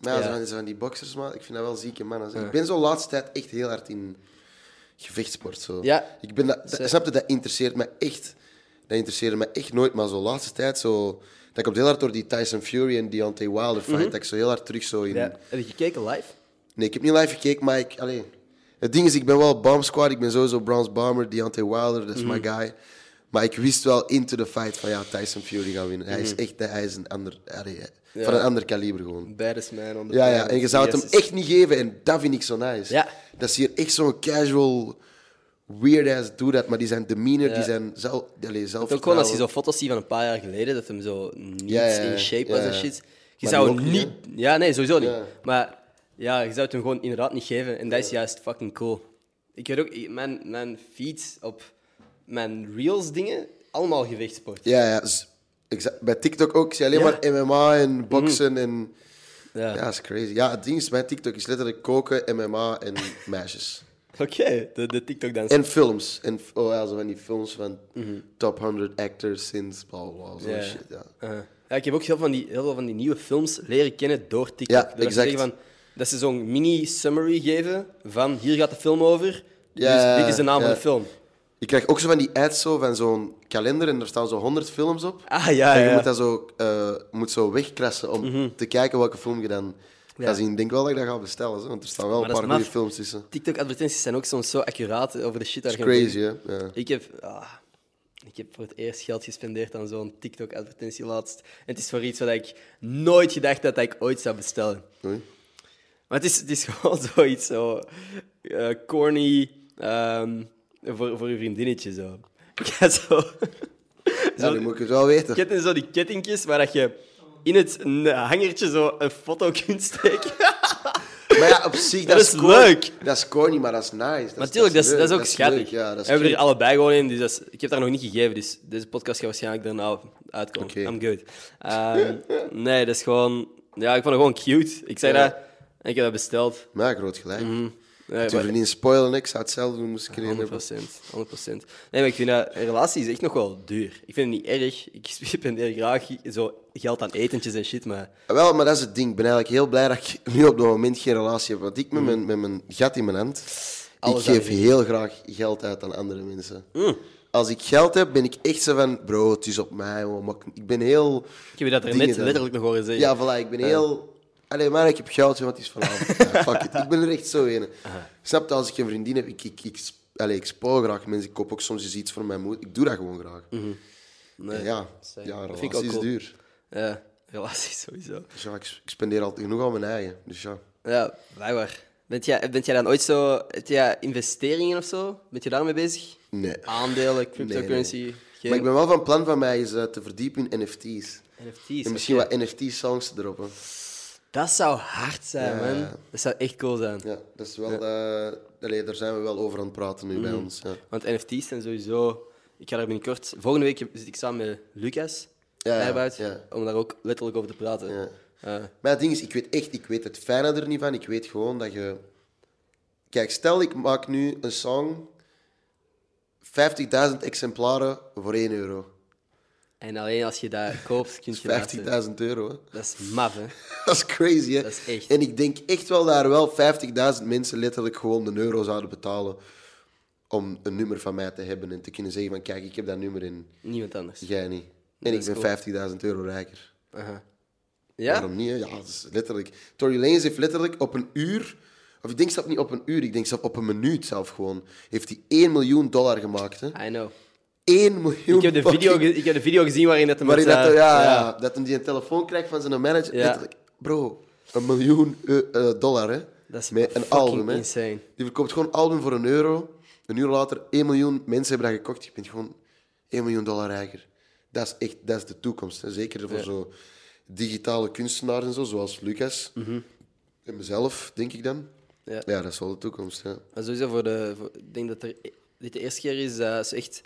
Maar ja,
Ja.
Zo, van, zo van die boxers, man, ik vind dat wel zieke mannen. zeg. Ik ben zo laatste tijd echt heel hard in gevechtsport. Zo.
Ja.
Ik ben dat, dat, snap je, dat interesseert me echt. Dat interesseerde me echt nooit, maar zo laatste tijd zo... Dat komt heel hard door die Tyson Fury en Deontay Wilder fight. Dat ik zo heel hard terug zo in...
Mhm. Ja. Heb je gekeken live?
Nee, ik heb niet live gekeken, maar ik... Allee, het ding is, ik ben wel Bomb Squad. Ik ben sowieso Bronze Bomber, Deontay Wilder, dat is
Mhm.
my guy. Maar ik wist wel into the fight van ja, Tyson Fury gaat winnen. Hij is
Mhm.
echt hij is een ander, allee, van een ander kaliber gewoon.
Baddest man on the
Ja, ja,
planet.
en je zou het hem
Yes, is-
echt niet geven en dat vind ik zo nice.
Eh, Ja.
Dat is hier echt zo'n casual, weird-ass doe dat, maar die zijn demeanor, die zijn zelf, allee, zelf
Ook gewoon als je zo foto's ziet van een paar jaar geleden, dat hem zo niet
Ja, ja,
in shape
ja,
was en
ja.
shit. Je
Maar
zou
nog
hem
niet,
niet... Ja, nee, sowieso niet.
Ja.
Maar ja, je zou het hem gewoon inderdaad niet geven. En dat is juist fucking cool. Ik weet ook, ik- mijn, mijn feeds op mijn reels dingen, allemaal gewichtsport.
Ja, ja. z- exa- Bij TikTok ook, zie je alleen maar MMA en boksen en...
Mhm. Ja.
Ja, dat is crazy. Ja, het ding is, mijn TikTok is letterlijk koken, MMA en meisjes.
Oké, de, de TikTok dans.
En films. En, f- oh ja, zo van die films van top 100 actors since bla bla bla, zo'n
Mhm. Ja.
shit, ja.
Uh-huh. ja, ik heb ook heel, van die, heel veel van die nieuwe films leren kennen door TikTok.
Ja,
Door dat ze
exact.
zeggen van, dat ze zo'n mini-summary geven van hier gaat de film over,
Ja,
dus dit is de naam
ja.
van de film.
Je krijgt ook zo van die ads zo, van zo'n kalender en er staan zo 100 films op.
Ah, ja,
en je
ja. Mhm.
moet dat zo, eh, moet zo wegkrassen om te kijken welke film je dan gaat zien. Ik denk wel dat ik dat ga bestellen, zo, want er staan wel
Maar
een
dat
paar
is
goede
maf.
films tussen.
TikTok-advertenties zijn ook soms zo accuraat over de shit
Dat
daar
is crazy, hè? Ja.
Ik heb, ah, ik heb voor het eerst geld gespendeerd aan zo'n TikTok-advertentie laatst. En het is voor iets wat ik nooit gedacht had dat ik ooit zou bestellen.
Oei.
Maar het is, het is gewoon zoiets zo eh, corny ehm, voor, voor je vriendinnetje. Zo. Ik had zo,
Ja,
zo
nu moet ik het wel weten.
je hebt dan zo die kettingjes waar dat je in het n- hangertje zo een foto kunt steken.
Maar ja, op zich, dat,
Dat is
corny.
leuk.
Dat is corny, maar dat is nice. Dat is-
Natuurlijk, dat is, dat
leuk,
is ook schattig.
leuk, Ja, dat
we hebben
is
er allebei gewoon in, dus dat is- ik heb daar nog niet gegeven, dus deze podcast gaat waarschijnlijk daarna uitkomen.
Oké.
I'm good. Ehm, nee, dat is gewoon... Ja, ik vond het gewoon cute. Ik zei
Ja.
dat en ik heb dat besteld.
Maar groot gelijk.
Mhm. Nee,
Ik durf
maar-
het niet spoilen, ik zou het zelf doen, moest ik erin
100%,
hebben.
100%. Nee, maar ik vind dat een relatie is echt nog wel duur. Ik vind het niet erg. Ik spendeer graag zo geld aan etentjes en shit, maar
Wel, maar dat is het ding. Ik ben eigenlijk heel blij dat ik nu op dat moment geen relatie heb. Want ik met mijn, met mijn gat in mijn hand,
Mm. Alles Mm.
ik geef
aan de
heel graag geld uit aan andere mensen. Als ik geld heb, ben ik echt zo van, bro, het is op mij. hoor, maar ik- ik ben heel...
ik heb je dat er
dingen
net
dan.
letterlijk nog horen zeggen.
Ja, voilà, ik ben heel... Allee, maar ik heb geld, want het is vanavond. Ja, fuck it. Ik ben er echt zo in. Snap je, als ik een vriendin heb, ik, ik, ik, sp- allee, ik spoil graag mensen. Ik koop ook soms eens iets voor mijn moeder. Ik doe dat gewoon graag. En ja,
Mhm. same.
ja,
Dat
relatie
vind ik ook
is
cool.
duur.
Ja, relatie sowieso.
Dus ja, ik, s- ik spendeer altijd genoeg aan mijn eigen. Dus ja.
Ja, blijkbaar. Bent jij, bent jij dan ooit zo... Heb jij investeringen of zo? Bent je daarmee bezig?
Nee.
Aandelen, cryptocurrency,
Nee, nee.
geen
Maar ik ben wel van plan van mij is eh, te verdiepen in NFT's.
NFT's.
En misschien
oké.
wat NFT-songs te droppen.
Dat zou hard zijn,
Ja.
man. Dat zou echt cool zijn.
Ja, dat is wel... eh, allee, daar zijn we wel over aan het praten nu
Mhm.
bij ons. Ja.
Want NFT's zijn sowieso... Ik ga daar binnenkort... Volgende week zit ik samen met Lucas,
Ja, ja,
Eijboud,
ja.
om daar ook letterlijk over te praten.
Ja.
Eh,
Maar het ding is, ik weet echt, ik weet het fijne er niet van. Ik weet gewoon dat je... Kijk, stel ik maak nu een song... 50.000 exemplaren voor 1 euro.
en alleen als je dat koopt, kun je dat...
50.000 euro, hè.
Dat is maf, hè.
Dat is crazy, hè?
Dat is echt.
En ik denk echt wel daar wel 50.000 mensen letterlijk gewoon een euro zouden betalen om een nummer van mij te hebben en te kunnen zeggen van kijk, ik heb dat nummer in,
Niemand anders.
jij niet. En
Dat
ik
is
ben
cool.
50.000 euro rijker.
Aha. Ja?
Waarom niet? hè? Ja, dat is letterlijk. Tory Lanez heeft letterlijk op een uur, of ik denk zelf niet op een uur, ik denk zelf op een minuut zelf gewoon, heeft hij 1 miljoen dollar gemaakt. Hè?
I know.
1 miljoen
Ik heb, de video
fucking-
ge- ik heb de video gezien waarin dat... hem
Waarin
met,
dat,
eh,
ja, ja, dat hij die een telefoon krijgt van zijn manager.
Ja.
Letterlijk, bro, een miljoen eh, eh, dollar, hè?
Dat is
Met een
fucking
album, hè?
insane.
Die verkoopt gewoon album voor een euro. Een uur later, 1 miljoen mensen hebben dat gekocht. Je bent gewoon 1 miljoen dollar rijker. Dat is echt dat is de toekomst. hè. Zeker voor zo digitale kunstenaars en zo, zoals Lucas en mezelf, denk ik dan.
Mhm. Ja.
Ja, dat is wel de toekomst. Ja.
Maar sowieso, voor de, voor- ik denk dat er, dit de eerste keer is dat ze echt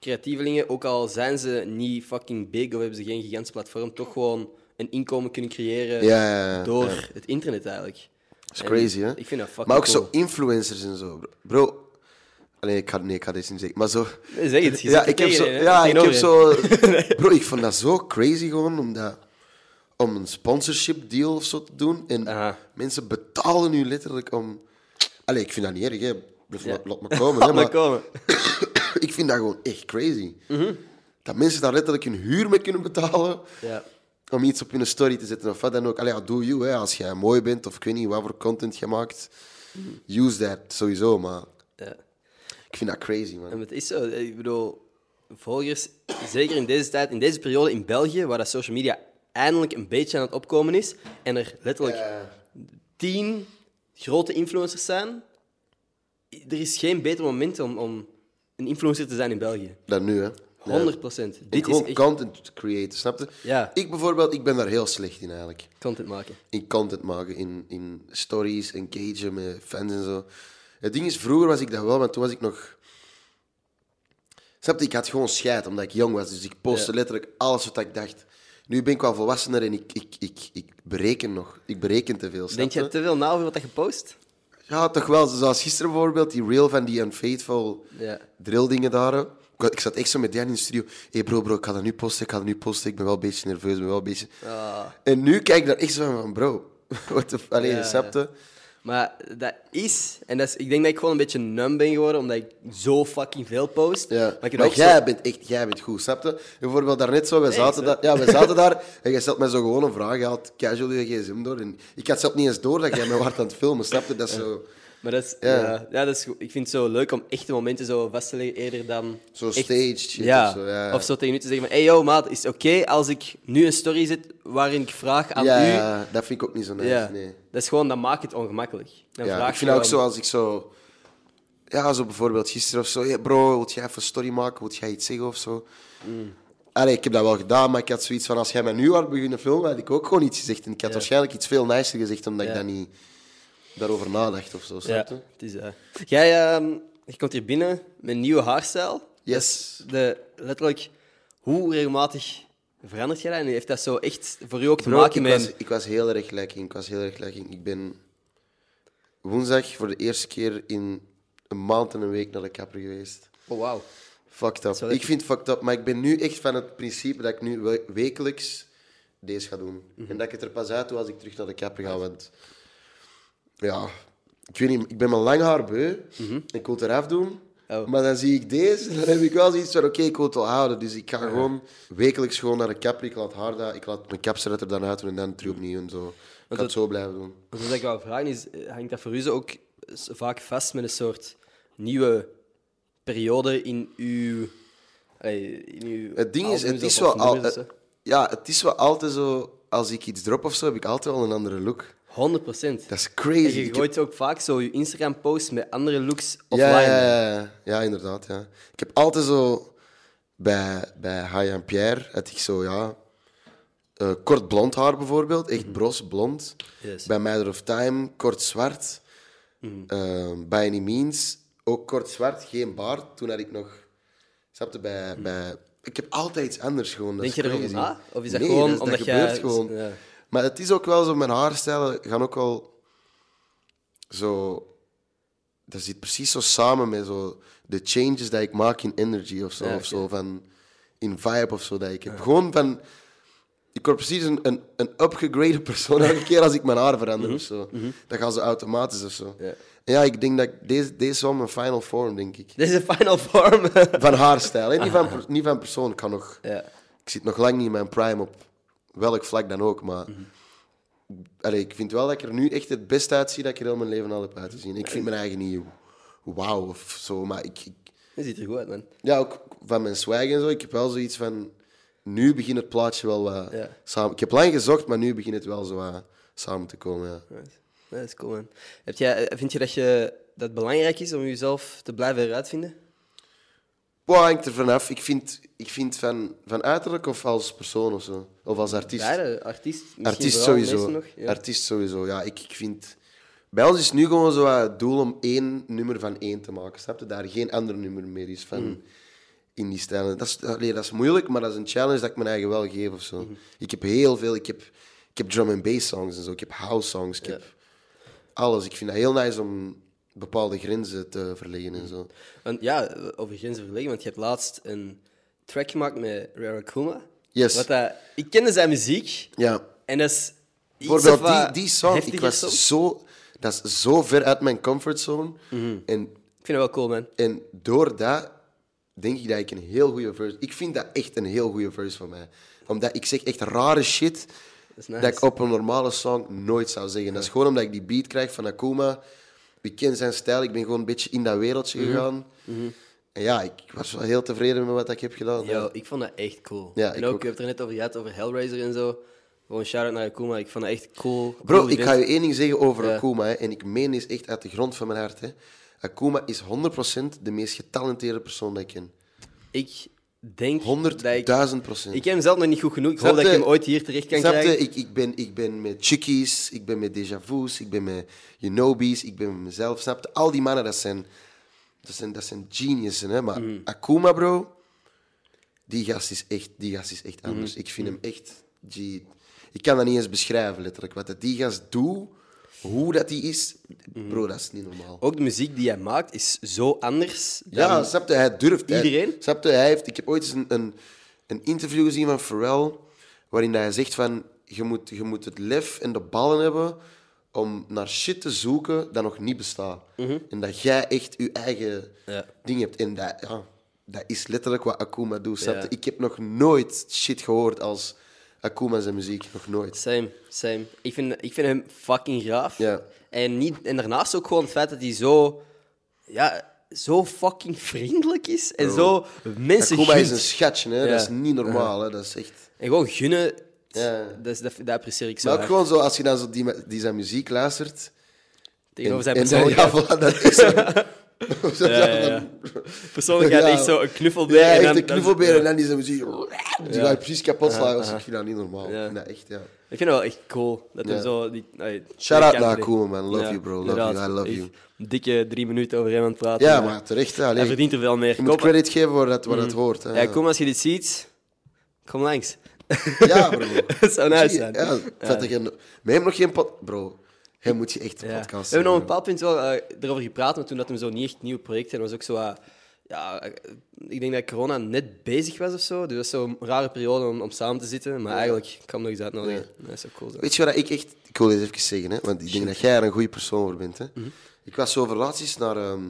creatievelingen, ook al zijn ze niet fucking big of hebben ze geen gigantisch platform, toch gewoon een inkomen kunnen creëren
Ja, ja, ja.
door
Ja.
het internet eigenlijk.
Dat is crazy, hè?
Ik vind dat fucking
Maar ook
cool.
zo influencers en zo. Bro. Allee, ik ga, nee, ik ga dit niet zeggen. Maar zo...
Nee, zeg het, je
ja,
zit er
ik heb
tegen
zo...
een, hè?
Ja, ik heb
Tegenover
zo... Bro, ik vond dat zo crazy gewoon, omdat... Om een sponsorship deal of zo te doen. En
Aha.
mensen betalen nu letterlijk om... Allee, ik vind dat niet erg, hè. Laat,
Ja.
laat me komen, hè.
Laat maar
Maar
komen. Mhm.
ik vind dat gewoon echt crazy. Dat mensen daar letterlijk hun huur mee kunnen betalen.
Ja.
Om iets op hun story te zetten of wat dan ook. Allee, ja, do you, hè. Als jij mooi bent of ik weet niet wat voor content je maakt. Use that, sowieso, maar...
Mhm. ja.
Ik vind dat crazy, man.
En het is zo. Ik bedoel, volgers, zeker in deze tijd, in deze periode in België, waar dat social media eindelijk een beetje aan het opkomen is, en er letterlijk tien grote influencers zijn, i- er is geen beter moment om, om een influencer te zijn in België.
Dat nu, hè.
100 Dit is
gewoon
echt
content creëren, snap je?
Ja.
Ik bijvoorbeeld, ik ben daar heel slecht in eigenlijk.
content maken.
In content maken, in, in stories, engagen met fans en zo. Het ding is, vroeger was ik dat wel, maar toen was ik nog... Snap je? Ik had gewoon scheid, omdat ik jong was. Dus ik postte
Ja.
letterlijk alles wat ik dacht. Nu ben ik wel volwassener en ik, ik, ik, ik bereken nog. Ik bereken te veel, snap
Denk je
je?
te veel na over wat dat je post?
Ja, toch wel. Zoals gisteren bijvoorbeeld, die reel van die Unfaithful
Ja.
drilldingen daar. Ik wa- Ik zat echt zo met Jan in de studio. Hé hey bro, bro, ik ga dat nu posten, ik ga dat nu posten. Ik ben wel een beetje nerveus, ik ben wel een beetje... En nu kijk ik daar echt zo van, van, bro, wat de... f- Allee,
Ah. Ja,
recepten.
Maar dat is, en dat is, ik denk dat ik gewoon een beetje numb ben geworden, omdat ik zo fucking veel post.
Ja.
ik heb
Maar
ook zo-
jij bent echt, jij bent goed, snap je? Bijvoorbeeld daarnet zo, wij zaten, daar, ja, wij zaten daar en jij stelt mij zo gewoon een vraag. Je had casual je gsm door en ik had zelf niet eens door dat jij mij was aan het filmen, snap je? Dat is zo...
Maar dat is,
Ja.
ja. ja, dat is, goed. ik vind het zo leuk om echte momenten zo vast te leggen eerder dan...
Zo
echt-
staged shit
ja.
of zo, ja.
Of zo tegen u te zeggen van... Hey yo, maat, is het oké als ik nu een story zet waarin ik vraag aan
Ja,
u...
ja, dat vind ik ook niet zo nice,
Ja.
nee.
Dat is gewoon, dat maakt het ongemakkelijk. Dan
Ja,
vraag
ik
je
vind dat ook zo
gewoon-
als ik zo... Ja, zo bijvoorbeeld gisteren of zo. "Hey, bro, wilt jij even een story maken? Wilt jij iets zeggen of zo?
Mm.
Allee, ik heb dat wel gedaan, maar ik had zoiets van... Als jij mij nu had beginnen filmen, had ik ook gewoon iets gezegd. En ik had waarschijnlijk iets veel nicer gezegd, omdat ik
Ja.
dat niet daarover nadacht of zo.
Ja,
snap je?
het is... eh, jij ehm, je komt hier binnen met een nieuwe haarstijl.
Yes.
De, letterlijk, hoe regelmatig verandert jij dat? En heeft dat zo echt voor u ook te
Bro,
maken
ik,
met...
was, ik was heel erg lekker. Ik was heel erg lekker. Ik ben woensdag voor de eerste keer in een maand en een week naar de kapper geweest.
Oh, wauw.
Fucked up.
Zo dat
Ik
je-
vind fucked up, maar ik ben nu echt van het principe dat ik nu we- wekelijks deze ga doen. En dat ik het er pas uit doe als ik terug naar de kapper ga, want... Ja, ik weet niet, ik ben mijn lang haar beu. Ik wil het eraf doen.
Oh.
Maar dan zie ik deze en dan heb ik wel zoiets van, oké, ik wil het wel houden. Dus ik ga gewoon wekelijks gewoon naar de kapper. Ik laat haar dat, ik laat mijn kapster er dan uit doen en dan terug opnieuw en zo. Ik ga
dat-
Mhm. het zo blijven doen.
Want wat ik wou vragen is, eh, hangt dat voor u zo ook s- vaak vast met een soort nieuwe periode in uw... allee, in uw
Het ding is,
albums
het is,
of-
wel
of
al,
nummers of
eh, ja, het is wel altijd zo... Als ik iets drop of zo, heb ik altijd wel een andere look.
zo? 100 procent.
Dat is crazy. Ik
Je
heb-
gooit ook vaak zo je Instagram-posts met andere looks offline.
Ja, ja, ja, ja. Ja, inderdaad. Ja. Ik heb altijd zo bij, bij Hai en Pierre had ik zo, ja. eh, kort blond haar bijvoorbeeld, echt bros blond.
Yes.
Bij Matter of Time, kort zwart. Eh, by Any Means, ook kort zwart, geen baard. Toen had ik nog. Snapte bij. bij ik heb altijd iets anders gewoon. dat
Hmm. Denk
is
je erover
crazy.
na? Of is dat
Nee,
gewoon
dat,
omdat
dat
jij-
gebeurt gewoon.
Ja.
Maar het is ook wel zo, mijn haarstijlen gaan ook wel zo dat zit precies zo samen met zo de changes die ik maak in energy of zo,
Ja,
of zo van in vibe of zo dat ik heb. Gewoon van, ik word precies een, een, een upgegrade persoon elke keer als ik mijn haar verander of zo. Dat gaan ze automatisch of zo.
Mhm. Ja.
En ja, ik denk dat ik- deze, deze is wel mijn final form, denk ik.
Dit is de final form.
Van haarstijl, hè? Niet, van, per- niet van persoon. Ik, kan nog,
ja.
ik zit nog lang niet in mijn prime op welk vlak dan ook, maar...
Mhm.
Allee, ik vind wel dat ik er nu echt het beste uitzie dat ik er heel mijn leven al heb uitgezien. Ik vind mijn eigen niet wauw of zo, maar ik, ik-
Dat ziet er goed uit, man.
ja, ook van mijn zwijg en zo. Ik heb wel zoiets van. Nu begint het plaatje wel wat
Ja.
samen. Ik heb lang gezocht, maar nu begint het wel zo wat samen te komen. Ja.
Nice. Ja, Dat is cool, man. Heb jij, eh, vind je dat, je dat het belangrijk is om jezelf te blijven heruitvinden?
Wat hangt er vanaf? Ik vind, ik vind van, van uiterlijk of als persoon of zo. Of als artiest.
Beide, artiest. misschien
Artiest
vooral
sowieso.
mensen nog, ja.
Artiest sowieso, ja. Ik, ik vind... Bij ons is nu gewoon zo wat het doel om één nummer van één te maken. Snap je? Daar geen ander nummer meer is van
Mm.
in die stijl. Dat is, allee, dat is moeilijk, maar dat is een challenge dat ik mijn eigen wel geef of zo.
Mm-hmm.
Ik heb heel veel... Ik heb, ik heb drum and bass songs en zo. Ik heb house songs. Ik heb alles. Ik vind dat heel nice om bepaalde grenzen te verleggen
Mm.
en zo.
Want ja, over grenzen verleggen, want je hebt laatst een track gemaakt met Rara Kuma.
Yes.
Wat dat, ik kende zijn muziek.
Ja.
En dat is iets
Bijvoorbeeld
of wat
die, die song, ik
heftiger
was
soms.
zo... Dat is zo ver uit mijn comfortzone.
Mm-hmm.
En
Ik vind dat wel cool, man.
En door dat denk ik dat ik een heel goede verse. Ik vind dat echt een heel goede verse van mij. Omdat ik zeg echt rare shit
is
dat,
nice.
ik op een normale song nooit zou zeggen. Dat is gewoon omdat ik die beat krijg van Akuma. Ik ken zijn stijl, ik ben gewoon een beetje in dat wereldje
Mhm.
gegaan. En ja, ik was wel heel tevreden met wat ik heb gedaan.
Yo,
Ja.
ik vond dat echt cool.
Ja,
en
ik
ook,
ook.
je hebt het er net over gehad, over Hellraiser en zo. Gewoon shout-out naar Akuma. Ik vond dat echt cool.
Bro,
cool
ik ga je één ding zeggen over
Ja.
Akuma. Hè, en ik meen dit echt uit de grond van mijn hart. Hè. Akuma is 100% de meest getalenteerde persoon dat ik ken.
Ik denk dat ik...
100.000 procent.
Ik ken hem zelf nog niet goed genoeg. Ik hoop
Snap
dat ik
je?
hem ooit hier terecht kan
Snap je?
krijgen.
Ik, ik, ben, ik ben met Chickies, ik ben met Deja Vu's, ik ben met Yonobis, ik ben met mezelf. Snap je? Al die mannen, dat zijn, dat zijn, dat zijn geniussen. Hè? Maar
Mm.
Akuma, bro, die gast is echt, die gast is
Mm.
echt anders. Ik vind hem echt... G. Ik kan dat niet eens beschrijven, letterlijk. Wat dat die gast doet, hoe dat die is,
Mm.
bro, dat is niet normaal.
Ook de muziek die hij maakt is zo anders.
Ja,
dan-
snapte, hij durft. Hij-
Iedereen?
snapte, hij heeft, ik heb ooit eens een, een, een interview gezien van Pharrell, waarin hij zegt van, je moet, je moet het lef en de ballen hebben om naar shit te zoeken dat nog niet bestaat. En dat jij echt je eigen
Mhm. Ja.
ding hebt. En dat, ja, dat is letterlijk wat Akuma doet. Snapte?
Ja.
Ik heb nog nooit shit gehoord als Akuma zijn muziek. Nog nooit.
Same, same. Ik vind, ik vind hem fucking gaaf.
Ja.
En, niet, en daarnaast ook gewoon het feit dat hij zo... Ja, zo fucking vriendelijk is. En zo mensen
Akuma is
gunt.
een schatje, hè?
Ja.
dat is niet normaal. Hè? Dat is echt...
En gewoon gunnen,
Ja.
dat, is- dat, dat apprecieer ik zo
Maar ook
hard.
gewoon zo, als je dan zo die, ma- die zijn muziek luistert...
Tegenover zijn
En- en zijn-
persoonlijkheid.
Ja, voilà, dat is hem. Zo,
Ja, ja, ja. Persoonlijkheid
Ja.
echt zo een knuffelbeer.
Ja,
en
echt
dan-
een
dan-
knuffelbeer en dan is hij muziek... Die
Ja.
ga je dus precies kapot slaan. Dus ik vind dat niet normaal.
Ja.
Ik vind dat echt, ja.
Ik vind het wel echt cool. Dat hij
Ja.
zo... Die, allee,
Shout-out
die
naar
kant-
Koeman, man. Love you, bro. Love
inderdaad.
you. I love
Echt
you.
een Dikke drie minuten over hem aan het praten.
Ja,
maar
maar terecht. hè.
Hij
Allee,
verdient er wel meer.
je moet
Kom,
credit geven waar dat, waar dat hoort. Hè.
ja, kom als je dit ziet. Kom langs.
Ja, bro.
Dat zou nice
Zie je?
zijn.
Ja, vet dat je... Met hem nog geen... pod- Bro, hem moet je echt een
Ja. We
podcast
hebben
doen,
op een
bro.
bepaald punt wel eh, erover gepraat, maar toen dat hem zo niet echt nieuw project en was ook zo. wat, ja, eh, ik denk dat corona net bezig was of zo. Dus dat is zo'n rare periode om, om samen te zitten. Maar eigenlijk ik kan hem nog eens uitnodigen. Dat zou cool zijn.
Weet je wat ik echt... Ik wil dit even zeggen, hè, want ik denk dat jij er een goede persoon voor bent. Hè.
Mhm.
Ik was zo relaties naar ehm,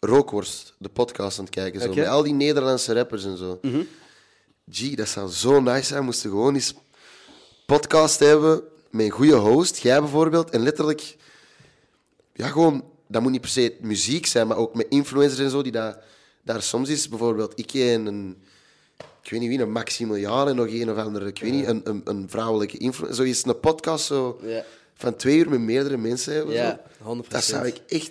Rookworst, de podcast, aan het kijken. Zo,
Oké. Mhm.
Met al die Nederlandse rappers en zo. Gee, dat zou zo nice zijn. Moesten we gewoon eens podcast hebben met een goede host, jij bijvoorbeeld. En letterlijk... Ja, gewoon... Dat moet niet per se muziek zijn, maar ook met influencers en zo, die daar, daar soms is. Bijvoorbeeld, ik ken een ik weet niet wie, een Maximiliaan en nog een of andere, ik weet niet, een, een, een vrouwelijke influencer. Zo is een podcast zo,
Ja.
van twee uur met meerdere mensen hebben.
Ja,
zo.
100%.
Dat zou ik echt...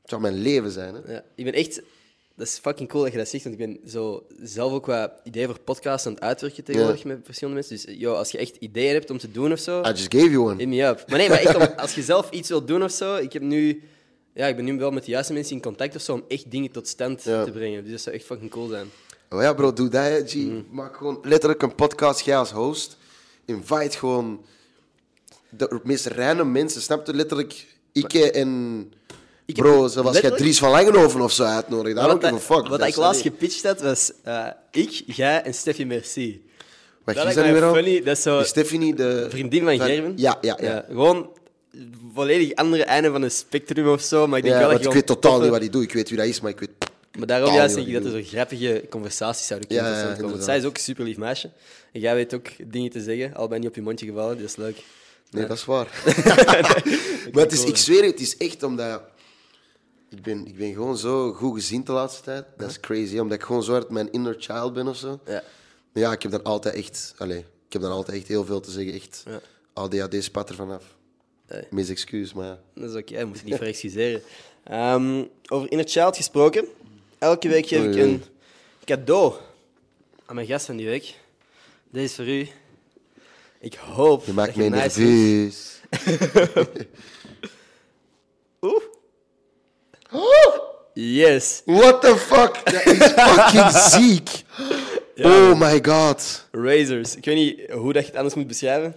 Het zou mijn leven zijn, hè.
Ja, ik ben echt. Dat is fucking cool dat je dat zegt, want ik ben zo zelf ook wat ideeën voor podcasts aan het uitwerken tegenwoordig met verschillende mensen. Dus eh, yo, als je echt ideeën hebt om te doen of zo,
I just gave you one.
hit me up. Maar nee, maar echt, om- als je zelf iets wilt doen of zo, ik heb nu, ja, ik ben nu wel met de juiste mensen in contact of zo om echt dingen tot stand
Ja.
te brengen. Dus dat zou echt fucking cool zijn.
Oh ja, bro, doe dat, hè, G.
Mm.
Maak gewoon letterlijk een podcast, jij als host. Invite gewoon de meest random mensen, snap je? Letterlijk, Ikke en...
Ik heb
Bro, zoals jij
letterlijk-
Dries van Langenhoven of zo uitnodigen. Daar
Wat,
ook een
dat-
fuck.
wat
Dat
ik
is-
laatst gepitcht had, was eh, ik, jij en Steffi Merci.
Wacht, wie
dat
is
lijkt mij
nu weer al?
funny, dat is zo-
Is Stephanie de...
Vriendin van Gerben.
Ja, ja, ja.
gewoon volledig andere einde van een spectrum of zo, maar ik denk
Ja,
wel dat
want
je
ik weet
gewoon
totaal
toffe-
niet wat hij doet. Ik weet wie dat is, maar ik weet...
Maar daarom
totaal
juist
niet
denk ik dat
wat die
er zo grappige conversaties zouden
Ja,
kunnen
ja,
tot stand komen. Want zij
inderdaad.
is ook een super lief meisje. En jij weet ook dingen te zeggen, al ben je niet op je mondje gevallen, dat is leuk.
Nee, dat is waar. maar het is, ik zweer je, het is echt omdat... Ik ben, ik ben gewoon zo goed gezind de laatste tijd. Dat is crazy, omdat ik gewoon zo hard mijn inner child ben of zo.
Ja.
Maar ja, ik heb dan altijd echt... Allez, ik heb dan altijd echt heel veel te zeggen. Echt,
Ja.
ADHD spat er vanaf.
Hey.
Mis excuus, maar ja.
Dat is oké, je moet je niet voor excuseren. Ehm, over Inner Child gesproken. Elke week geef ik
Oei, oei.
een Cadeau aan mijn gast van die week. Deze is voor u. Ik hoop
Je maakt
dat
mij
je nice vindt.
nerveus.
Oeh. Yes.
What the fuck? Dat is fucking ziek. Oh my god.
Razors. Ik weet niet hoe dat je het anders moet beschrijven.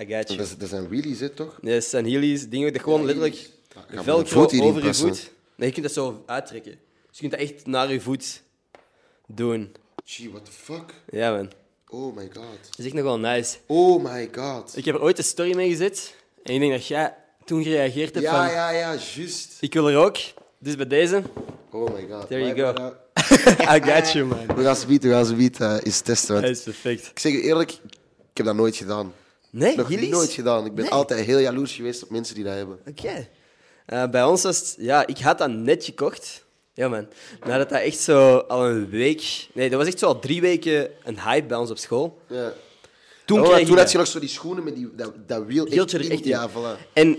I got you.
Dat, is- dat zijn wheelies, hè, toch?
Nee, dat zijn heelys. Dingen dat gewoon
Ja,
letterlijk
heelys. Ja, ik ga mijn
velcro
voet hierin
over je
passen.
voet. Nee, je kunt dat zo uittrekken. Dus je kunt dat echt naar je voet doen.
Gee, what the fuck?
Ja, man.
Oh my god.
Dat is echt nog wel nice.
Oh my god.
Ik heb er ooit een story mee gezet. En ik denk dat jij toen gereageerd hebt
Ja,
van...
ja, ja, juist.
Ik wil er ook. Dus bij deze...
Oh my god.
There you
Bye,
go.
brother.
I got you, man.
We gaan ze bieden, we gaan ze bieden, eh, eens testen. want
Hij is perfect.
Ik zeg je eerlijk, ik heb dat nooit gedaan.
Nee,
Nog
heelys?
nooit gedaan. Ik ben
Nee.
altijd heel jaloers geweest op mensen die dat hebben.
Oké. Eh, bij ons was het... Ja, ik had dat net gekocht. Ja, man. Nadat dat echt zo al een week... Nee, dat was echt zo al drie weken een hype bij ons op school.
Ja.
Toen
Oh,
kreeg ik
toen
dat.
had je nog zo die schoenen met die, dat, dat wiel echt,
Hield je er
in.
echt in.
Ja, voilà.
En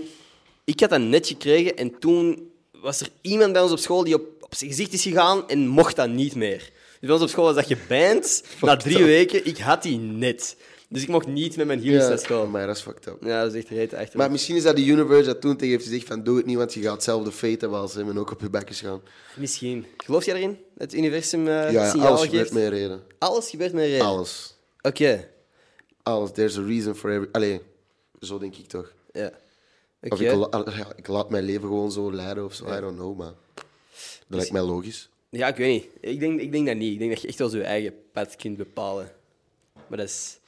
ik had dat net gekregen en toen was er iemand bij ons op school die op, op zijn gezicht is gegaan en mocht dat niet meer. Dus bij ons op school was dat geband. Na drie weken, ik had die net. Dus ik mocht niet met mijn heels naar school.
Oh, maar dat is fucked up.
Ja, dat is echt reet echt.
Maar misschien is dat de universe dat toen tegen heeft gezegd van doe het niet, want je gaat zelf de fate hebben als hem en ook op je bek is gaan.
Misschien. Geloof jij erin? Het universum eh
Ja,
signaal
alles
geeft?
gebeurt met een reden.
Alles gebeurt met reden.
Alles.
Oké.
Alles. There's a reason for every... Allee, zo denk ik toch.
Ja. Oké.
Of ik, la- ja, ik laat mijn leven gewoon zo leiden of zo. I don't know, man. Dat
Dus
lijkt mij logisch.
Ja, ik weet niet. Ik denk, ik denk dat niet. Ik denk dat je echt wel zo je eigen pad kunt bepalen. Maar dat is...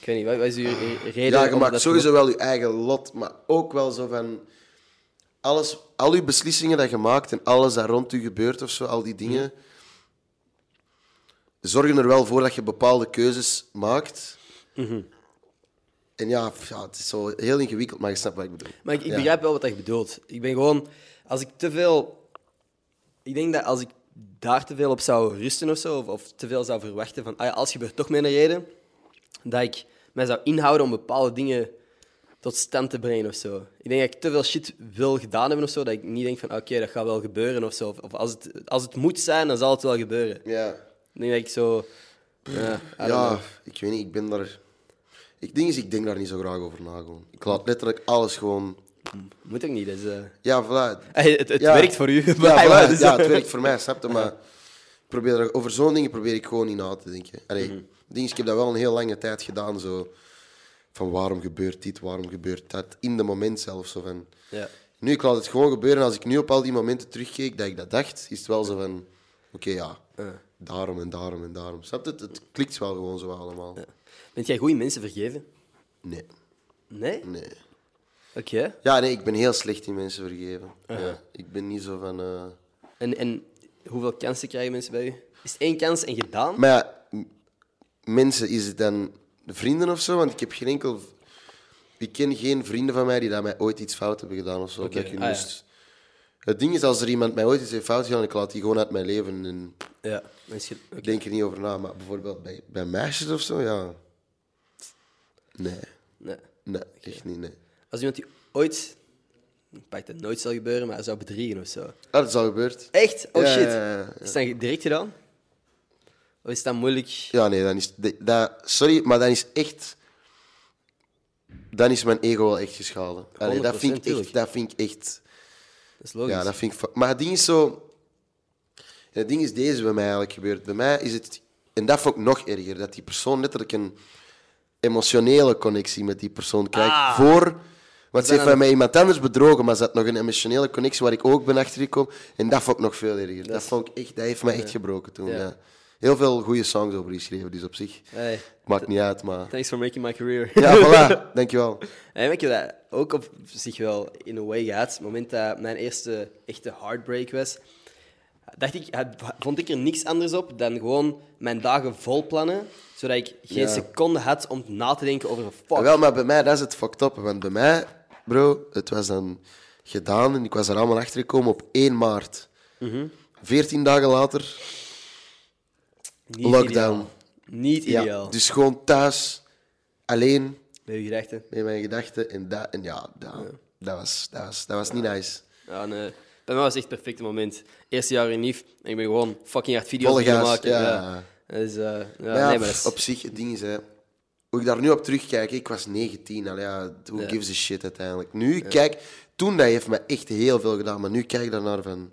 Ik weet niet, wat, wat is uw re- reden?
Ja,
om
je maakt
dat
sowieso wel je eigen lot, maar ook wel zo van... Alles, al je beslissingen dat je maakt en alles dat rond je gebeurt of zo, al die dingen... Zorgen er wel voor dat je bepaalde keuzes maakt.
Mhm.
En ja, f- ja, het is zo heel ingewikkeld, maar je snapt wat ik bedoel.
Maar ik, ik
Ja.
begrijp wel wat je bedoelt. Ik ben gewoon... Als ik te veel... Ik denk dat als ik daar te veel op zou rusten of zo, of, of te veel zou verwachten van, ah ja, als gebeurt toch mijn reden, dat ik mij zou inhouden om bepaalde dingen tot stand te brengen of zo. Ik denk dat ik te veel shit wil gedaan hebben of zo, dat ik niet denk van, ah, oké, dat gaat wel gebeuren of zo. Of, of als, het, als het moet zijn, dan zal het wel gebeuren.
Ja.
Ik denk dat ik zo... Ja, I don't
Ja,
know.
ik weet niet, ik ben daar... Ik, ding is, ik denk daar niet zo graag over na. Gewoon. Ik laat letterlijk alles gewoon...
Moet ook niet. Dus, eh,
Ja, voilà.
hey, het het
Ja.
werkt voor u.
Ja,
maar-
voilà.
dus-
ja, het werkt voor mij, snap je? Maar ik probeer er, over zo'n dingen probeer ik gewoon niet na te denken. Allee,
Mhm.
ding is, ik heb dat wel een heel lange tijd gedaan. Zo, van waarom gebeurt dit, waarom gebeurt dat? In de moment zelf. Zo van.
Ja.
Nu, ik laat het gewoon gebeuren. Als ik nu op al die momenten terugkeek dat ik dat dacht, is het wel zo van... Oké, ja. Daarom en daarom en daarom. Snap je? Het, het klikt wel gewoon zo allemaal.
Bent jij goede mensen vergeven?
Nee,
Nee?
nee.
Oké.
Ja, nee, ik ben heel slecht in mensen vergeven. ja, ik ben niet zo van... eh,
En, en hoeveel kansen krijgen mensen bij u? Is het één kans en gedaan?
Maar ja, m- mensen, is het dan vrienden of zo? Want ik heb geen enkel. Ik ken geen vrienden van mij die dat mij ooit iets fout hebben gedaan of zo.
Oké,
Dat ik hun
ah ja.
moest- Het ding is, als er iemand mij ooit iets heeft fout gedaan, ik laat die gewoon uit mijn leven en
Ja. Mensen,
ik denk er niet over na. Maar bijvoorbeeld bij, bij meisjes of zo, ja. Nee,
nee.
nee, echt niet, nee.
Als iemand die ooit... Ik pak dat het nooit zal gebeuren, maar zou bedriegen of zo.
Ah, dat is al gebeurd.
Echt? Oh
Ja,
shit.
ja, ja, ja.
Is dat direct gedaan? Of is dat moeilijk?
Ja, nee, dan is. de- Dat, sorry, maar dan is echt. Dan is mijn ego wel echt geschaden. Allee, dat, vind ik
100%
echt,
tuurlijk.
dat vind ik echt.
Dat Oh, is logisch.
Ja, dat vind ik... fa- Maar het ding is zo... Het ding is deze bij mij eigenlijk gebeurd. Bij mij is het... En dat vond ik nog erger. Dat die persoon letterlijk een emotionele connectie met die persoon krijgt.
Ah.
Voor... Want ze
dan
heeft bij mij iemand anders bedrogen, maar ze had nog een emotionele connectie waar ik ook ben achtergekomen. En dat vond ik nog veel erger. Dat, vond ik echt... Dat heeft mij echt gebroken toen,
Ja.
ja. Heel veel goede songs over geschreven, dus op zich...
Hey.
Maakt niet uit, maar...
Thanks for making my career.
Ja, voilà. Dankjewel.
En ik heb dat ook op zich wel in een way gehad. Het moment dat mijn eerste echte heartbreak was, dacht ik, had- vond ik er niks anders op dan gewoon mijn dagen vol plannen, zodat ik geen
Ja. Ah,
seconde had om na te denken over een fuck.
Wel, maar bij mij, dat is het fucked up. Want bij mij, bro, het was dan gedaan en ik was er allemaal achter gekomen op 1 maart.
Mhm.
Veertien dagen later,
Niet
lockdown.
ideaal. Niet ideaal.
ja, dus gewoon thuis, alleen
Met uw gedachten.
met mijn gedachten. En, dat, en ja, dat, dat was, dat was, dat was niet nice.
Ja, nee. Bij mij was het echt het perfecte moment. Eerste jaar in NIF en ik ben gewoon fucking hard
Volle
video's gaan
gas,
maken.
ja.
Dus, eh, ja,
Maar ja,
nee, maar dat is-
op zich, het ding is, hè, hoe ik daar nu op terugkijk, ik was 19, al ja, who
Ja.
gives a shit uiteindelijk. Nu, kijk, toen dat heeft me echt heel veel gedaan, maar nu kijk ik daarnaar van...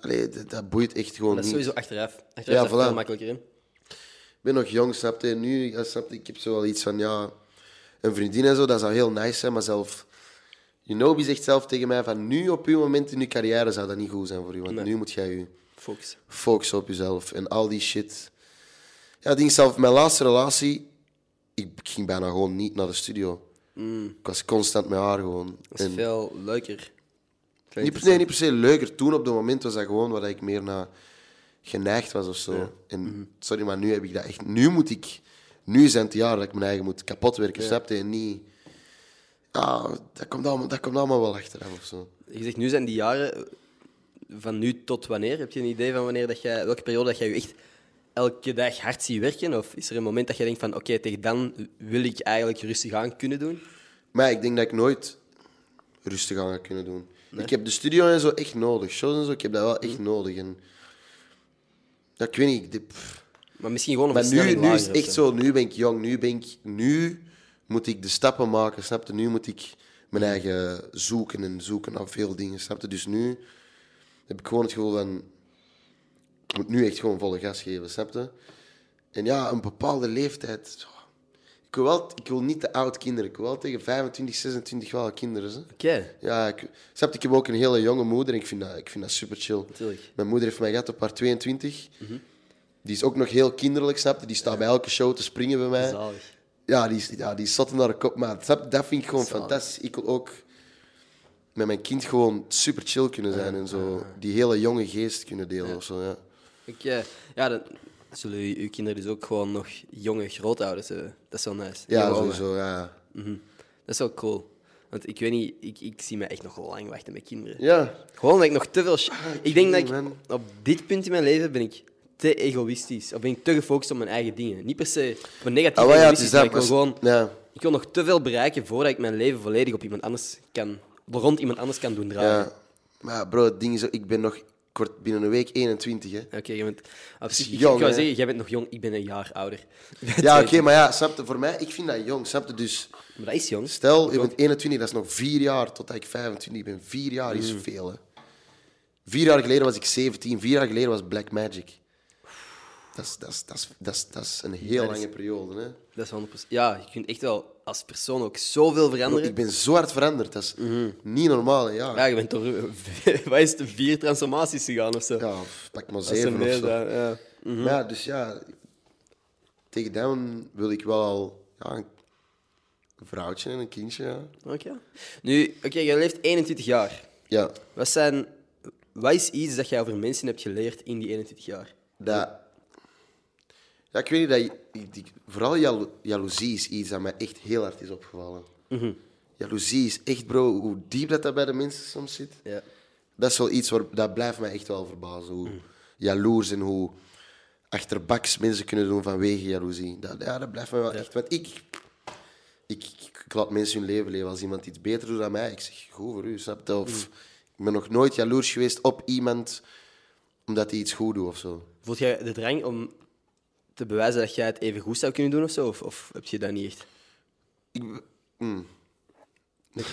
Allee, dat, dat boeit echt gewoon
Mm. Mhm. dat is
niet.
sowieso achteraf. Achteraf
Ja,
ja, is dat
voilà.
veel makkelijker in.
Ik ben nog jong, snap je? Nu, ja, snap je, ik heb zo wel iets van, ja, een vriendin en zo, dat zou heel nice zijn, maar zelf... Jinobi zegt zelf tegen mij van, nu op uw moment in uw carrière zou dat niet goed zijn voor u, want nu moet jij je
Focus.
focussen op jezelf en al die shit. Ja, ding zelf, mijn laatste relatie, ik ging bijna gewoon niet naar de studio. Ik was constant met haar gewoon.
Dat is
En
veel leuker. Veel
niet per, nee, niet per se leuker. Toen op dat moment was dat gewoon waar ik meer naar geneigd was of zo. En sorry, maar nu heb ik dat echt. Nu moet ik. Nu zijn het jaar dat ik mijn eigen moet kapotwerken, snap je? En niet. Ah, dat komt allemaal, dat komt allemaal wel achteraf of zo.
Je zegt, nu zijn die jaren van nu tot wanneer? Heb je een idee van wanneer dat jij, welke periode dat jij je echt elke dag hard ziet werken? Of is er een moment dat je denkt van, oké, tegen dan wil ik eigenlijk rustig aan kunnen doen?
Maar ik denk dat ik nooit rustig aan ga kunnen doen. Ik heb de studio en zo echt nodig. Shows en zo, ik heb dat wel echt nodig. En, ja, ik weet niet. ik- pff.
Maar misschien gewoon een
Maar nu,
versnelling
nu is
lager
het
of
echt zo. Nu ben ik jong. Nu, ben ik, nu moet ik de stappen maken, snap je? Nu moet ik mijn
Hmm.
eigen zoeken en zoeken naar veel dingen, snap je? Dus nu heb ik gewoon het gevoel van... Ik moet nu echt gewoon volle gas geven, snap je? En ja, een bepaalde leeftijd... zo. Ik wil, wel, ik wil niet te oud kinderen. Ik wil wel tegen 25, 26 wel kinderen. Hè?
Oké,
Ja, ik, snap je, ik heb ook een hele jonge moeder en ik vind dat, ik vind dat super chill.
Natuurlijk.
Mijn moeder heeft mij gehad op haar 22.
Mhm.
Die is ook nog heel kinderlijk, snap je? Die staat bij elke show te springen bij mij.
zalig.
Ja, die, is- ja, die zat naar de kop. Maar snap je, dat vind ik gewoon
Zalig.
fantastisch. Ik wil ook met mijn kind gewoon super chill kunnen zijn en zo. Die hele jonge geest kunnen delen of zo, ja.
Oké, eh, ja, dan zullen je, uw kinderen dus ook gewoon nog jonge grootouders hebben. Dat is wel nice.
Ja,
Jonge omen.
sowieso, ja.
Dat is wel cool. Want ik weet niet, ik, ik zie me echt nog lang wachten met kinderen.
Ja,
Gewoon dat ik nog te veel. sh-
Ah,
ik denk dat
weet
ik
niet,
op dit punt in mijn leven ben ik te egoïstisch. Of ben ik te gefocust op mijn eigen dingen. Niet per se op een negatief
Ah, wel, ja, het
egoïstisch,
is
maar
dat.
ik wil
maar-
gewoon.
Ja,
Ik wil nog te veel bereiken voordat ik mijn leven volledig op iemand anders kan. rond iemand anders kan doen draaien.
ja. Maar bro, het ding is, ook, ik ben nog... Ik word binnen een week 21, hè.
Oké, je bent. op zich- ik,
jong,
ik wou
hè?
zeggen, jij bent nog jong, ik ben een jaar ouder.
Ja, oké, maar ja, snap je, voor mij, ik vind dat jong, snap je? Dus
Maar dat is jong.
stel, je bent 21, dat is nog vier jaar totdat ik 25 ben. Vier jaar is
Hm.
veel, hè. Vier jaar geleden was ik 17, vier jaar geleden was Black Magic. Dat is, dat is, dat is, dat is, dat is een heel
is-
lange periode, hè.
Dat is 100%. Ja, je kunt echt wel als persoon ook zoveel veranderen.
Ik ben zo hard veranderd, dat is niet normaal, hè, ja.
Mhm. Ja, je bent door wat is het, vier transformaties gegaan of zo.
Ja, of pak maar
Dat is
zeven
meer
of zo.
dan, ja. Mhm.
Maar ja, dus ja, tegen dan wil ik wel al ja, een een vrouwtje en een kindje, ja.
Oké. Nu, oké, jij leeft 21 jaar.
Ja,
Wat, zijn, wat is iets dat jij over mensen hebt geleerd in die 21 jaar?
Dat... Ja, ik weet niet, dat, je- ik- ik- vooral jalo- jaloezie is iets dat mij echt heel hard is opgevallen. Jaloezie is echt, bro, hoe diep dat, dat bij de mensen soms zit.
Ja.
Dat is wel iets waar, dat blijft mij echt wel verbazen. Hoe jaloers en hoe achterbaks mensen kunnen doen vanwege jaloezie. Dat, ja, dat blijft mij wel echt. Want ik, ik, ik, ik laat mensen hun leven leven. Als iemand iets beter doet dan mij, ik zeg, goed voor u, snap je? Of ik ben nog nooit jaloers geweest op iemand omdat hij iets goed doet of zo.
Voelt jij de drang om te bewijzen dat jij het even goed zou kunnen doen of zo? Of, of heb je dat niet echt? Ben je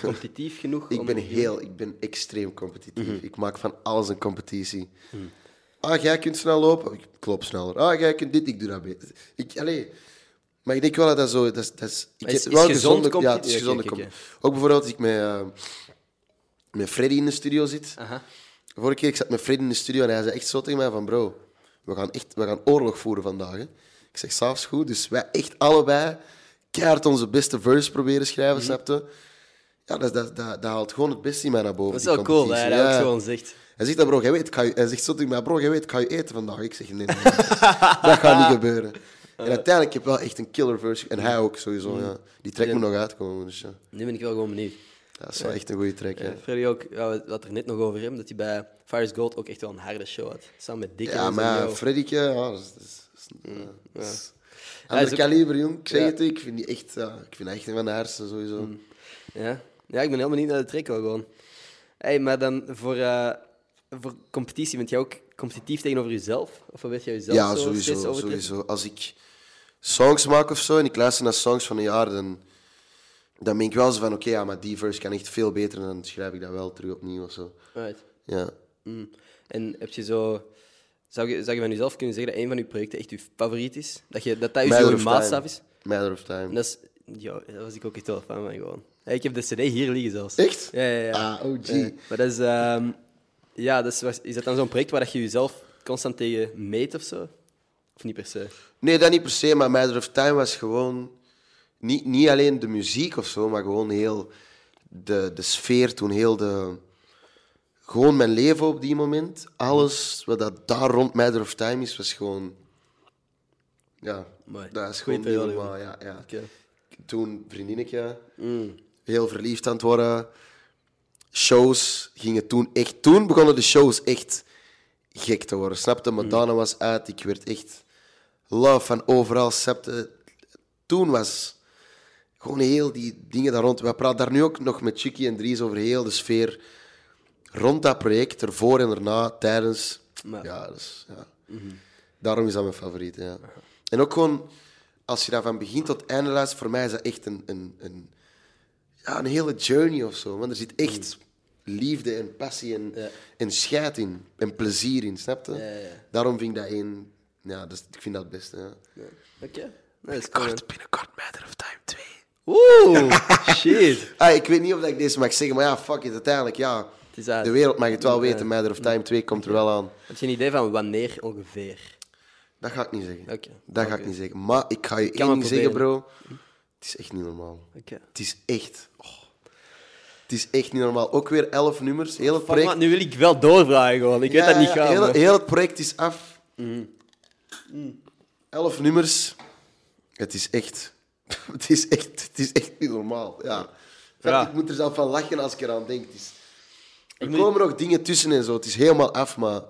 competitief genoeg?
hmm. Ik
om- Mhm.
ben heel, ik ben extreem competitief. Ik maak van alles een competitie. Ah, jij kunt snel lopen. Ik klop sneller. Ah, jij kunt dit. Ik doe dat beter. Ik, allee. Maar ik denk wel dat dat zo... Dat, is- dat is, ik
Maar is-
heb
is
wel
gezond
gezonde-
competi-
Ja, het is
Oké,
gezonde
oké, oké.
competitie. Ook bijvoorbeeld als ik met, eh, met Freddy in de studio zit.
Aha.
Vorige keer ik zat met Freddy in de studio en hij zei echt zo tegen mij van... Bro, we gaan, echt, we gaan oorlog voeren vandaag. Hè. Ik zeg, s'avonds goed. Dus wij echt allebei keihard onze beste verse proberen
Mhm.
schrijven, snap je? Ja, dat, dat, dat, dat haalt gewoon het beste in mij naar boven.
Dat is
die
wel cool dat
competitie.
hij dat
Ja.
ook gewoon zegt.
Hij zegt dat, bro, jij weet, kan je, hij zegt zo tegen mij, bro, jij weet, kan je eten vandaag? Ik zeg, nee, nee, nee. dat gaat niet gebeuren. En uiteindelijk heb ik wel echt een killer verse. En hij ook, sowieso, ja. Die track moet nog uitkomen, dus ja.
Nu ben ik wel gewoon benieuwd.
Dat is wel echt een goede track, ja.
Eh, Freddy ook, ja, we hadden het er net nog over hem, dat hij bij Fires Gold ook echt wel een harde show had. Samen met Dick
Ja,
en zo,
maar ja,
yo.
Freddyke, ja, dat is... dat is- dat is- ja, dat is-
Hij
Ander
is ook-
kaliber, jong. Ik zeg
Ja. Mm.
het, ik vind die echt, ja, ik vind hij echt een van de haarsste, sowieso.
Ja. ja, ik ben heel benieuwd naar de track wel gewoon. Hey, maar dan voor, eh, voor competitie, bent jij ook competitief tegenover jezelf? Of weet jij jezelf
Ja,
zo steeds
sowieso,
overtreffen?
sowieso. Als ik songs maak of zo en ik luister naar songs van een jaar, dan, dan ben ik wel zo van, oké, ja, maar die verse kan echt veel beter en dan schrijf ik dat wel terug opnieuw of zo.
Right.
Ja.
Mm. En heb je zo... Zou je, zou je van jezelf kunnen zeggen dat een van je projecten echt je favoriet is? Dat je, dat, dat je
Matter
zo'n
of
maatstaf
time.
is?
Matter of Time.
En dat is... Ja, daar was ik ook echt wel fan van, gewoon. Hey, ik heb de cd hier liggen zelfs.
Echt?
Ja, ja, ja.
Ah, oh gee.
Ja, maar dat is... ehm, ja, dat is, was- is dat dan zo'n project waar dat je jezelf constant tegen meet of zo? Of niet per se?
Nee, dat niet per se, maar Matter of Time was gewoon niet, niet alleen de muziek of zo, maar gewoon heel de, de sfeer toen, heel de. Gewoon mijn leven op die moment. Alles wat dat daar rond Matter of Time is, was gewoon. Ja,
Mooi.
dat is gewoon
Goeie
niet
periode,
normaal. Ja, ja.
Oké.
Toen vriendinnetje, heel verliefd aan het worden. Shows gingen toen echt... Toen begonnen de shows echt gek te worden. Snapte, Madonna was uit. Ik werd echt love van overal. Snapte, toen was gewoon heel die dingen daar rond. We praten daar nu ook nog met Chucky en Dries over heel de sfeer rond dat project, ervoor en erna, tijdens.
Maar-
Ja, dus, ja. Daarom is dat mijn favoriet. Ja. En ook gewoon, als je daar van begin tot einde luistert, voor mij is dat echt een, een, een, ja, een hele journey of zo. Want er zit echt liefde en passie en,
Mm. Ja.
en scheid in. En plezier in, snap je?
Ja, ja, ja.
Daarom vind ik dat één. Ja, dus, ik vind dat het beste. Ja.
Oké. Nee, dat is cool.
Kort, binnenkort Matter of Time 2.
Oeh, shit.
Ah, ik weet niet of ik deze mag zeggen, maar ja, fuck it, uiteindelijk, ja.
Het is uit.
De wereld mag het wel weten, Matter of Time 2 komt er wel aan.
Heb je een idee van wanneer ongeveer?
Dat ga ik niet zeggen.
Oké.
Dat ga ik niet zeggen. Maar ik ga je
Kan
één
maar
ding zeggen, bro. Het is echt niet normaal.
Oké.
Het is echt... oh. Het is echt niet normaal. Ook weer elf nummers, heel het
Fuck,
project.
man, nu wil ik wel doorvragen gewoon. Ik weet
Ja,
dat niet
ja,
gaan. Mhm.
Heel,
maar-
heel het project is af. Mm. Elf nummers. Het is echt... Het is echt, het is echt niet normaal, ja.
Ja.
Ik moet er zelf van lachen als ik eraan denk. Het is... Er
moet- Mm.
komen nog dingen tussen en zo. Het is helemaal af, maar...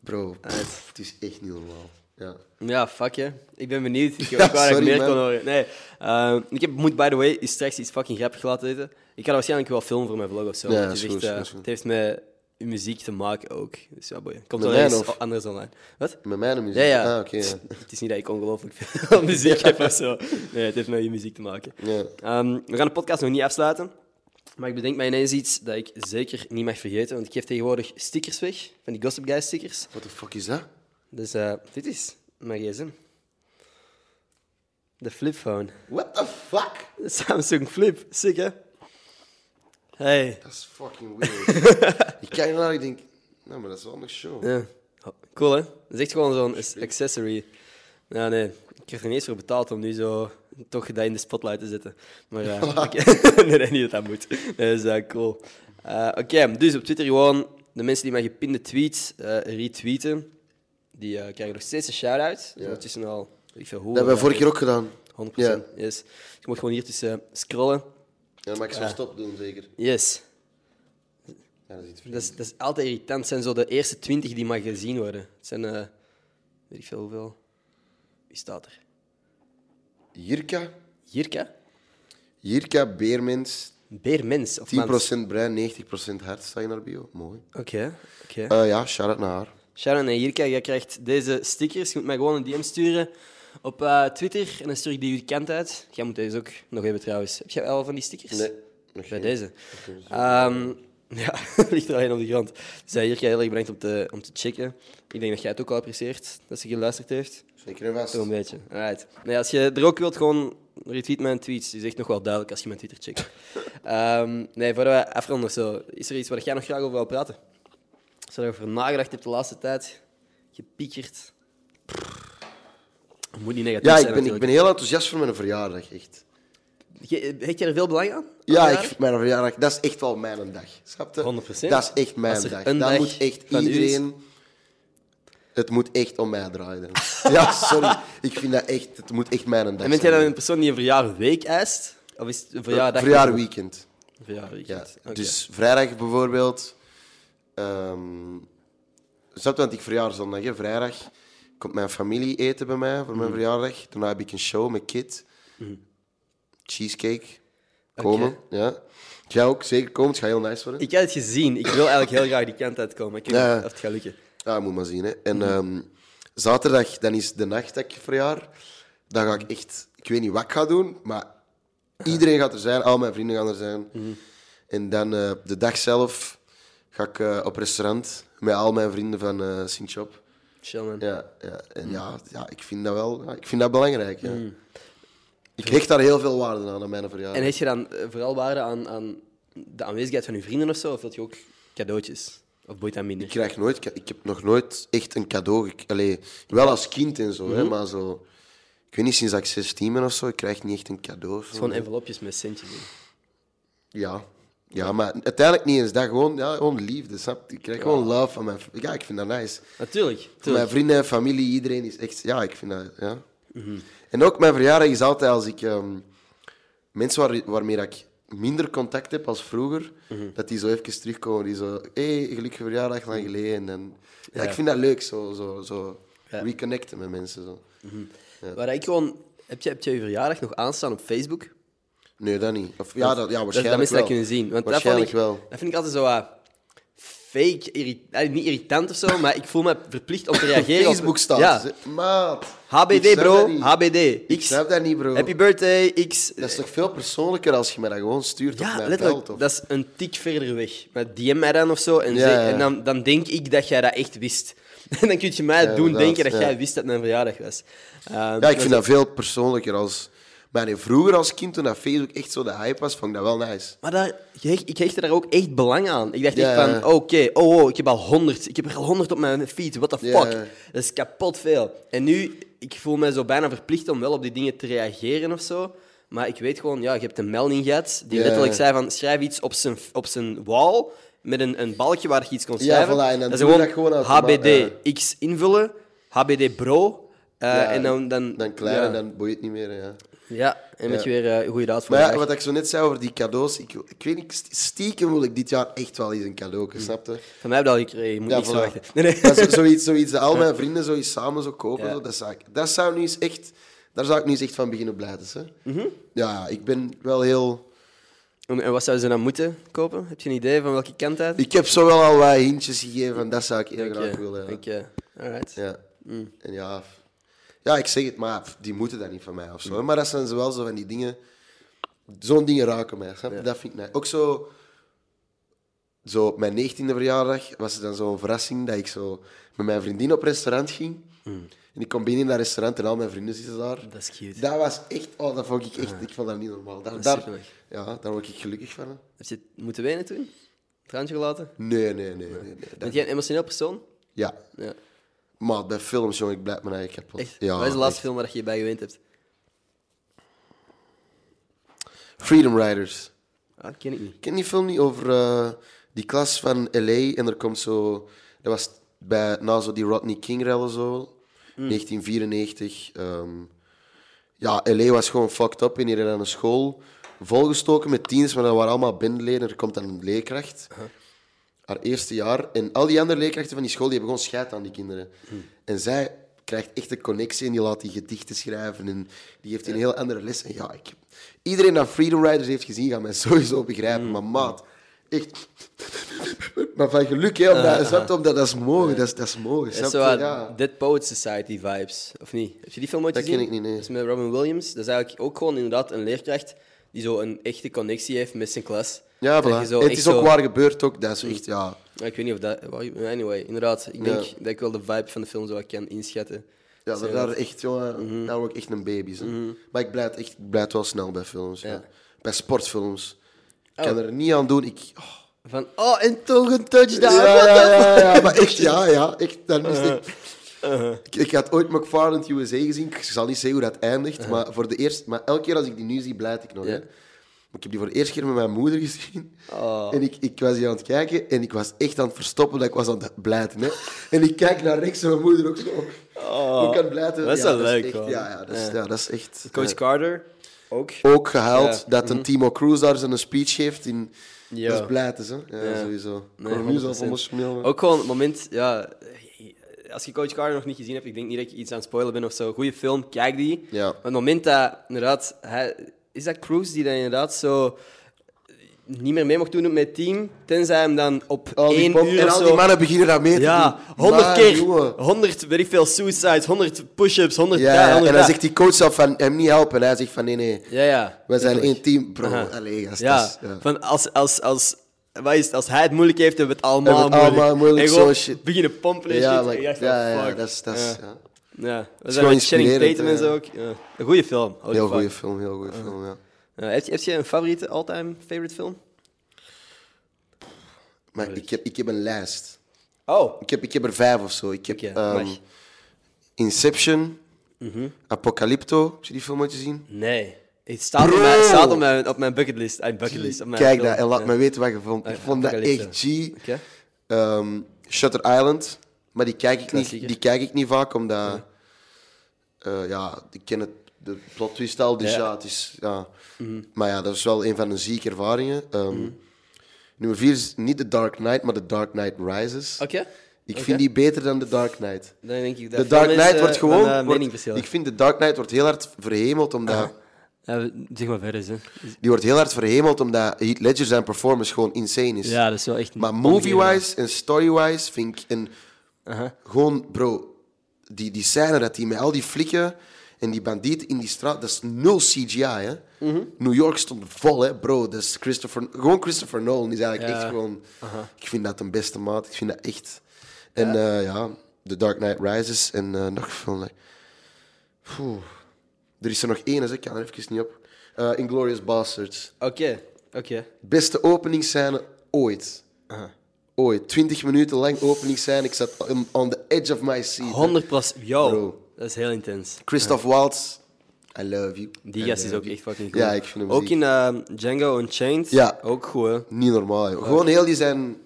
Bro, pff, het is echt niet normaal. Ja.
Ja, fuck je. Ik ben benieuwd. Ik heb
Ja,
ook waar ik
sorry,
meer
man.
kon horen. Nee, ehm, ik heb, moet by the way is straks iets fucking grappigs laten weten. Ik ga dat waarschijnlijk wel filmen voor mijn vlog of zo.
Ja,
want het,
is
is
goed,
echt,
is
eh,
goed, is goed.
het heeft met uw muziek te maken ook. Dus ja, boy. Komt
Met
wel
mij
ergens
of-
anders online. Wat?
Met mijn muziek?
Ja, ja.
Ah, oké. ja.
Het is niet dat ik ongelooflijk veel muziek heb of zo. Nee, het heeft met je muziek te maken.
Ja.
Ehm, we gaan de podcast nog niet afsluiten. Maar ik bedenk mij ineens iets dat ik zeker niet mag vergeten. Want ik geef tegenwoordig stickers weg. Van die Gossip Guy stickers.
What the fuck is dat?
Dus eh, dit is mijn gsm. De flipphone.
What the fuck?
De Samsung Flip. Sick, hè? Hey.
Dat is fucking weird. ik kijk ernaar en ik denk, nou, maar dat is wel nog show.
Ja. Oh, Cool, hè? Dat is echt gewoon zo'n accessory. Ja, nee. Ik heb er niet eens voor betaald om nu zo toch dat in de spotlight te zetten. Maar ja, nee, nee, niet dat dat moet. Nee, dat is eh, cool. Eh, Oké, dus op Twitter gewoon de mensen die mijn gepinde tweets eh, retweeten, die eh, krijgen nog steeds een shout-out. Dus ondertussen al, weet ik veel hoe.
Dat hebben we vorige keer ook gedaan. Ja.
100%. Yes. Dus Je moet gewoon hier tussen scrollen.
Ja, dan mag ik zo stop doen, zeker.
Yes.
Ja, dat is iets
Dat is, dat is altijd irritant. Het zijn zo de eerste 20 die maar gezien worden. Het zijn, eh, weet ik veel hoeveel. Wie staat er?
Jirka.
Jirka?
Jirka, Beermens. 10%
Beermens of mens?
brein, 90% hart, sta je in haar bio. Mooi.
Oké, oké.
Eh, ja, shout-out naar haar.
Sharon en Jirka, jij krijgt deze stickers. Je moet mij gewoon een DM sturen op eh, Twitter en dan stuur ik die uw kant uit. Jij moet deze ook nog hebben trouwens. Heb jij al van die stickers?
Nee, nog geen.
Bij deze. Ehm, ja, ligt er alleen op de grond. Dus eh, Jirka, heel erg bedankt om te, om te checken. Ik denk dat jij het ook al apprecieert, dat ze geluisterd heeft.
Zeker en vast.
Toch een beetje. Alright. Nee, als je er ook wilt, gewoon retweet mijn tweets. Die is echt nog wel duidelijk als je mijn Twitter checkt. Ehm, nee, voordat we afronden, of zo, is er iets waar jij nog graag over wil praten? Als je erover nagedacht hebt de laatste tijd, gepiekerd. Het Moet niet negatief
Ja,
zijn.
ik ben, ik ben heel enthousiast voor mijn verjaardag, echt.
natuurlijk. Ge- Hecht jij er veel belang aan?
Ja,
Aan
ik, mijn verjaardag, dat is echt wel mijn dag. Snap je?
100%.
Dat is echt
Als
mijn
er
dag.
een
Dat
dag
moet echt
van u is-
iedereen... Het moet echt om mij draaien. dan. ja, sorry. Ik vind dat echt... Het moet echt mijn dag
En bent jij dan
zijn.
een persoon die een verjaarweek eist? Of is het een verjaardag?
Verjaarweekend. Ja.
Verjaarweekend. Oké.
Dus vrijdag bijvoorbeeld... ehm, snap je, want ik verjaar zondag. Hè? Vrijdag komt mijn familie eten bij mij voor mijn
Mhm.
verjaardag. Daarna heb ik een show met Kit. Cheesecake. Komen.
Oké.
Ja. Jij ook, zeker komen. Het gaat heel nice worden.
Ik had het gezien. Ik wil eigenlijk heel graag die kant uitkomen. Ik weet
Ja.
niet of het gaat lukken.
Ja, Ah, moet maar zien. Hè. En ehm, zaterdag, dan is de nacht dat ik verjaar. Dan ga ik echt... Ik weet niet wat ik ga doen, maar iedereen gaat er zijn. Al mijn vrienden gaan er zijn. En dan eh, de dag zelf ga ik eh, op restaurant met al mijn vrienden van eh Sint-Job.
Chill, man.
Ja, ja. En ja, ja, ik vind dat wel... ja, ik vind dat belangrijk. Ja. Ik hecht daar heel veel waarde aan, aan mijn verjaardag.
En heet je dan eh, vooral waarde aan, aan de aanwezigheid van je vrienden of zo? Of dat je ook cadeautjes? Of boeit dat minder?
Ik krijg nooit, ka- ik heb nog nooit echt een cadeau. gek- Allee, wel als kind en zo, hè, maar zo. Ik weet niet, sinds dat ik 16 ben of zo, ik krijg niet echt een cadeau. of zo.
Gewoon envelopjes met centjes in.
Ja. ja, maar uiteindelijk niet eens dat. Gewoon, ja, gewoon liefde, snap je? Ik krijg gewoon love van mijn v- Ja, ik vind dat nice.
Natuurlijk.
Van mijn
tuurlijk.
vrienden, familie, iedereen is echt. Ja, ik vind dat. Ja.
Mhm.
En ook mijn verjaardag is altijd als ik. ehm, mensen waar, waarmee dat ik minder contact heb als vroeger,
Mhm.
dat die zo even terugkomen. Die zo, hé, hey, gelukkige verjaardag, lang geleden. En, dan- ja,
Mhm. Ja.
Ik vind dat leuk, zo, zo, zo
Ja.
reconnecten met mensen. Zo.
Waar ik gewoon... Heb je, heb je je verjaardag nog aanstaan op Facebook?
Nee, dat niet. Of, ja, dat, ja,
Dat-
waarschijnlijk
dat mensen dat
wel.
kunnen zien. Want
waarschijnlijk
dat vond ik,
wel.
Dat vind ik altijd zo wat fake, irri- eh, niet irritant of zo, maar ik voel me verplicht om te reageren. op-
Facebook staat. dus,
Ja.
Maat. ik snap
HBD
dat
bro,
niet.
HBD.
Ik
X.
snap dat niet, bro.
Happy birthday, X.
Dat is toch veel persoonlijker als je mij dat gewoon stuurt op
Ja,
mijn
letterlijk.
belt, of-
Dat is een tik verder weg. Maar DM mij dan of zo. En,
Ja,
zeg-
ja.
en dan, dan denk ik dat jij dat echt wist. En dan kun je mij
Ja,
doen
inderdaad,
denken dat
ja.
jij wist dat mijn verjaardag was. Ehm,
Ja, ik vind dat veel persoonlijker als... Maar nee, vroeger als kind, toen dat Facebook echt zo de hype was, vond ik dat wel nice.
Maar daar, je hecht- ik hechtte daar ook echt belang aan. Ik dacht
Ja,
echt van,
ja.
oké, oh, oh, ik heb al 100. Ik heb er al 100 op mijn feed. What the fuck?
Ja, ja.
Dat is kapot veel. En nu, ik voel me zo bijna verplicht om wel op die dingen te reageren of zo. Maar ik weet gewoon, ja, je hebt een melding gehad die
Ja.
letterlijk zei van, schrijf iets op zijn, op zijn wall met een, een balkje waar je iets kon
Ja,
schrijven.
voilà, en dan
dat is
doe je
gewoon,
dat gewoon automatisch,
HBD X invullen, HBD bro. eh,
Ja,
en dan... Dan,
Dan klein en
ja.
dan boeit het niet meer. Ja.
Ja, en met
Ja.
je weer eh, een goede daad voor
Maar
de
ja,
dag.
wat ik zo net zei over die cadeaus, ik, ik weet niet, st- stiekem wil ik dit jaar echt wel eens een cadeau, snap je?
Van mij heb je dat al gekregen, je moet
Ja,
niet
voilà.
Hm. zo wachten. Nee, nee.
Maar zo- zoiets, zoiets dat al mijn vrienden zoiets samen zo kopen,
Ja.
zo, dat, zou ik, dat zou nu eens echt, daar zou ik nu eens echt van beginnen blijven. dus, Hè?
Mhm.
Ja, ik ben wel heel...
En, en wat zouden ze dan moeten kopen? Heb je een idee van welke kant uit?
Ik heb zo wel al wat hintjes gegeven, van dat zou ik heel
Oké,
graag willen. ja.
oké, alright.
Ja.
Mm.
En ja, f- ja, ik zeg het, maar f- die moeten dat niet van mij of
Mm.
zo. hè. Maar dat zijn ze wel zo van die dingen. Zo'n dingen raken mij. snap je? Dat vind ik nice. Ook zo, zo op mijn 19e verjaardag was het dan zo'n verrassing dat ik zo met mijn vriendin op restaurant ging. En ik kom binnen in dat restaurant en al mijn vrienden zitten daar.
Mm. Dat is cute. Ah.
Dat was echt, oh, dat vond ik echt, ik vond dat niet normaal. Daar,
is
daar-
superleuk.
ja, daar word ik gelukkig van. hè.
Heb je het moeten wenen toen? Traantje gelaten?
Nee, nee, nee. nee, nee. Dat-
Bent jij een emotioneel persoon?
ja,
Ja,
maar bij films, jongen, ik blijf mijn eigen kapot.
echt.
Ja,
wat is de
echt.
laatste film waar je je bij gewend hebt?
Freedom Riders.
Ah, dat ken ik niet.
Ik ken die film niet over eh, die klas van L.A. En er komt zo... Dat was bij, na zo die Rodney King-rellen zo. 1994. ehm. ja, L.A. was gewoon fucked up. En hier aan een school volgestoken met tieners. Maar dat waren allemaal bendeleden. Er komt dan een leerkracht. Haar eerste jaar. En al die andere leerkrachten van die school, die hebben gewoon scheid aan die kinderen.
Hm.
En zij krijgt echt een connectie en die laat die gedichten schrijven. En die heeft een heel andere les. En ja, ik heb... Iedereen dat Freedom Riders heeft gezien, gaat mij sowieso
Hm.
begrijpen. Maar maat, echt... Maar van geluk, hè, omdat, snap je, omdat dat is mooi. Dat is, dat is mooi,
Ah. Dat
snap
is zo
je?
wat
Ja.
Dead Poet Society vibes, of niet? Heb je die film ooit
Dat
gezien?
ken ik niet, nee.
Dat is met Robin Williams. Dat is eigenlijk ook gewoon inderdaad een leerkracht die zo een echte connectie heeft met zijn klas.
Ja,
Dat je
voilà.
zo
En het
echt
is ook
zo- Hm.
waar gebeurd ook. Dat is echt, ja...
Ja, Ik weet niet of dat... Anyway, inderdaad. Ik denk
Ja.
dat ik wel de vibe van de film zo wat kan inschatten.
Ja,
Zo
daar, daar echt, jongen, daar word ik echt een baby. zo. Maar ik blijf, echt, ik blijf wel snel bij films. Ja.
Ja.
Bij sportfilms. Ik kan er niet aan doen. Ik, oh.
Van, oh, en toch een touchdown.
ja, ja, ja, ja, maar echt, ja, ja. Echt, dan is het- ik, ik had ooit McFarland USA gezien. Ik zal niet zeggen hoe dat eindigt. Maar, voor de eerste, maar elke keer als ik die nu zie, blijf ik nog.
Ja.
Hè. Maar ik heb die voor de eerste keer met mijn moeder gezien. En ik, ik was die aan het kijken en ik was echt aan het verstoppen dat ik was aan het blijten. Hè. En ik kijk naar rechts en mijn moeder ook zo. Hoe kan blijten?
dat is
ja,
wel leuk,
echt-
hoor.
ja, ja, dat is, ja. dat is echt...
Coach
ja.
Carter ook.
Ook gehuild
Ja. Mhm.
dat een Timo Cruz daar zijn speech geeft. In,
Ja.
Dat is blijten, hè. Ja,
Ja.
sowieso.
Nee,
ik word nu zelf
100%.
emotioneel. man.
Ook gewoon het moment, ja. Als je Coach Carter nog niet gezien hebt, ik denk niet dat ik iets aan het spoilen ben of zo. Goeie film, kijk die.
Ja.
Maar het moment dat inderdaad, hij, is dat Cruise die dan inderdaad zo niet meer mee mocht doen met het team, tenzij hem dan op
Al die
één
pop-
uur
en al
zo...
die mannen beginnen dat mee te
ja,
doen.
100
Maar,
keer,
jongen.
100 weet ik veel suicides, 100 push-ups, 100
Ja,
daar,
ja,
100
en dan
daar.
zegt die coach zelf van hem niet helpen. En hij zegt van nee, nee,
Ja, ja.
wij zijn
Tuurlijk.
één team, bro.
Aha.
Allee, gast,
ja,
dat is- ja.
Van als, als, als, wat is het? als hij het moeilijk heeft, hebben we het allemaal
Hebben we het allemaal moeilijk,
En gewoon
zo shit.
beginnen pompen en
Ja,
shit.
maar-
En je dacht van,
ja, ja,
fuck.
dat is... Dat is ja.
Ja, we zijn
gewoon
met Channing
inspirerend,
Tatum en
ja.
zo ook. Ja. Een goede film. holy
Heel
fuck.
goede film, heel goede film, ja.
Ja, heb, je, heb je een favoriete, all-time favorite film?
Maar ik heb, ik heb een lijst.
Oh,
Ik heb, ik heb er vijf of zo. Ik heb
Oké,
ehm,
mag.
Inception,
Mhm.
Apocalypto. Heb je die film ooit gezien?
nee. Het staat, op
Bro!
mijn, staat op mijn, op mijn bucketlist. Ay, bucketlist op mijn
Kijk
film.
dat en laat
Ja.
me weten wat je vond. Ik
Ah,
vond dat
Apocalypto.
echt G.
Oké.
Ehm, Shutter Island. Maar die kijk ik, niet,
Klassieker.
die kijk ik niet vaak, omdat... eh, ja, ik ken het, de plot twist al, dus
Ja. Mhm.
ja, het is... Ja. Maar ja, dat is wel een van de zieke ervaringen. Ehm, Nummer vier is niet The Dark Knight, maar The Dark Knight Rises.
Oké.
Ik
Oké.
vind die beter dan The Dark Knight.
Dan denk ik dat
De Dark
veel
Knight
mensen
wordt
van,
gewoon...
eh,
wordt-
mening verschillen.
ik vind de Dark Knight wordt heel hard verhemeld omdat...
Ja, zeg maar verder, hè.
Die wordt heel hard verhemeld omdat Heath Ledger zijn performance gewoon insane is.
Ja, dat is wel echt...
Maar movie-wise en story-wise vind ik... En Gewoon, bro, die, die scène dat hij met al die flikken en die bandieten in die straat... Dat is nul CGI, hè.
Mhm.
New York stond vol, hè, bro. Dat is Christopher... Gewoon Christopher Nolan is eigenlijk
Ja.
echt gewoon... Ik vind dat een beste maat. Ik vind dat echt... En ja, ja The Dark Knight Rises en eh, nog veel... hè. Oeh. Er is er nog één, dus ik kan er even niet op. Eh, Inglourious Bastards.
Oké, oké.
Beste openingsscène ooit. Ooit. 20 minuten lang openingsscène. Ik zat on, on the edge of my seat.
100 Yo,
Bro.
dat is heel intens.
Christoph Waltz. I love you.
Die
I
gast is
love
ook
you.
echt fucking goed.
Ja, ik vind hem
Ook
ziek.
in ehm, Django Unchained.
Ja.
Ook goed, hè.
Niet normaal, joh. Gewoon heel die zijn...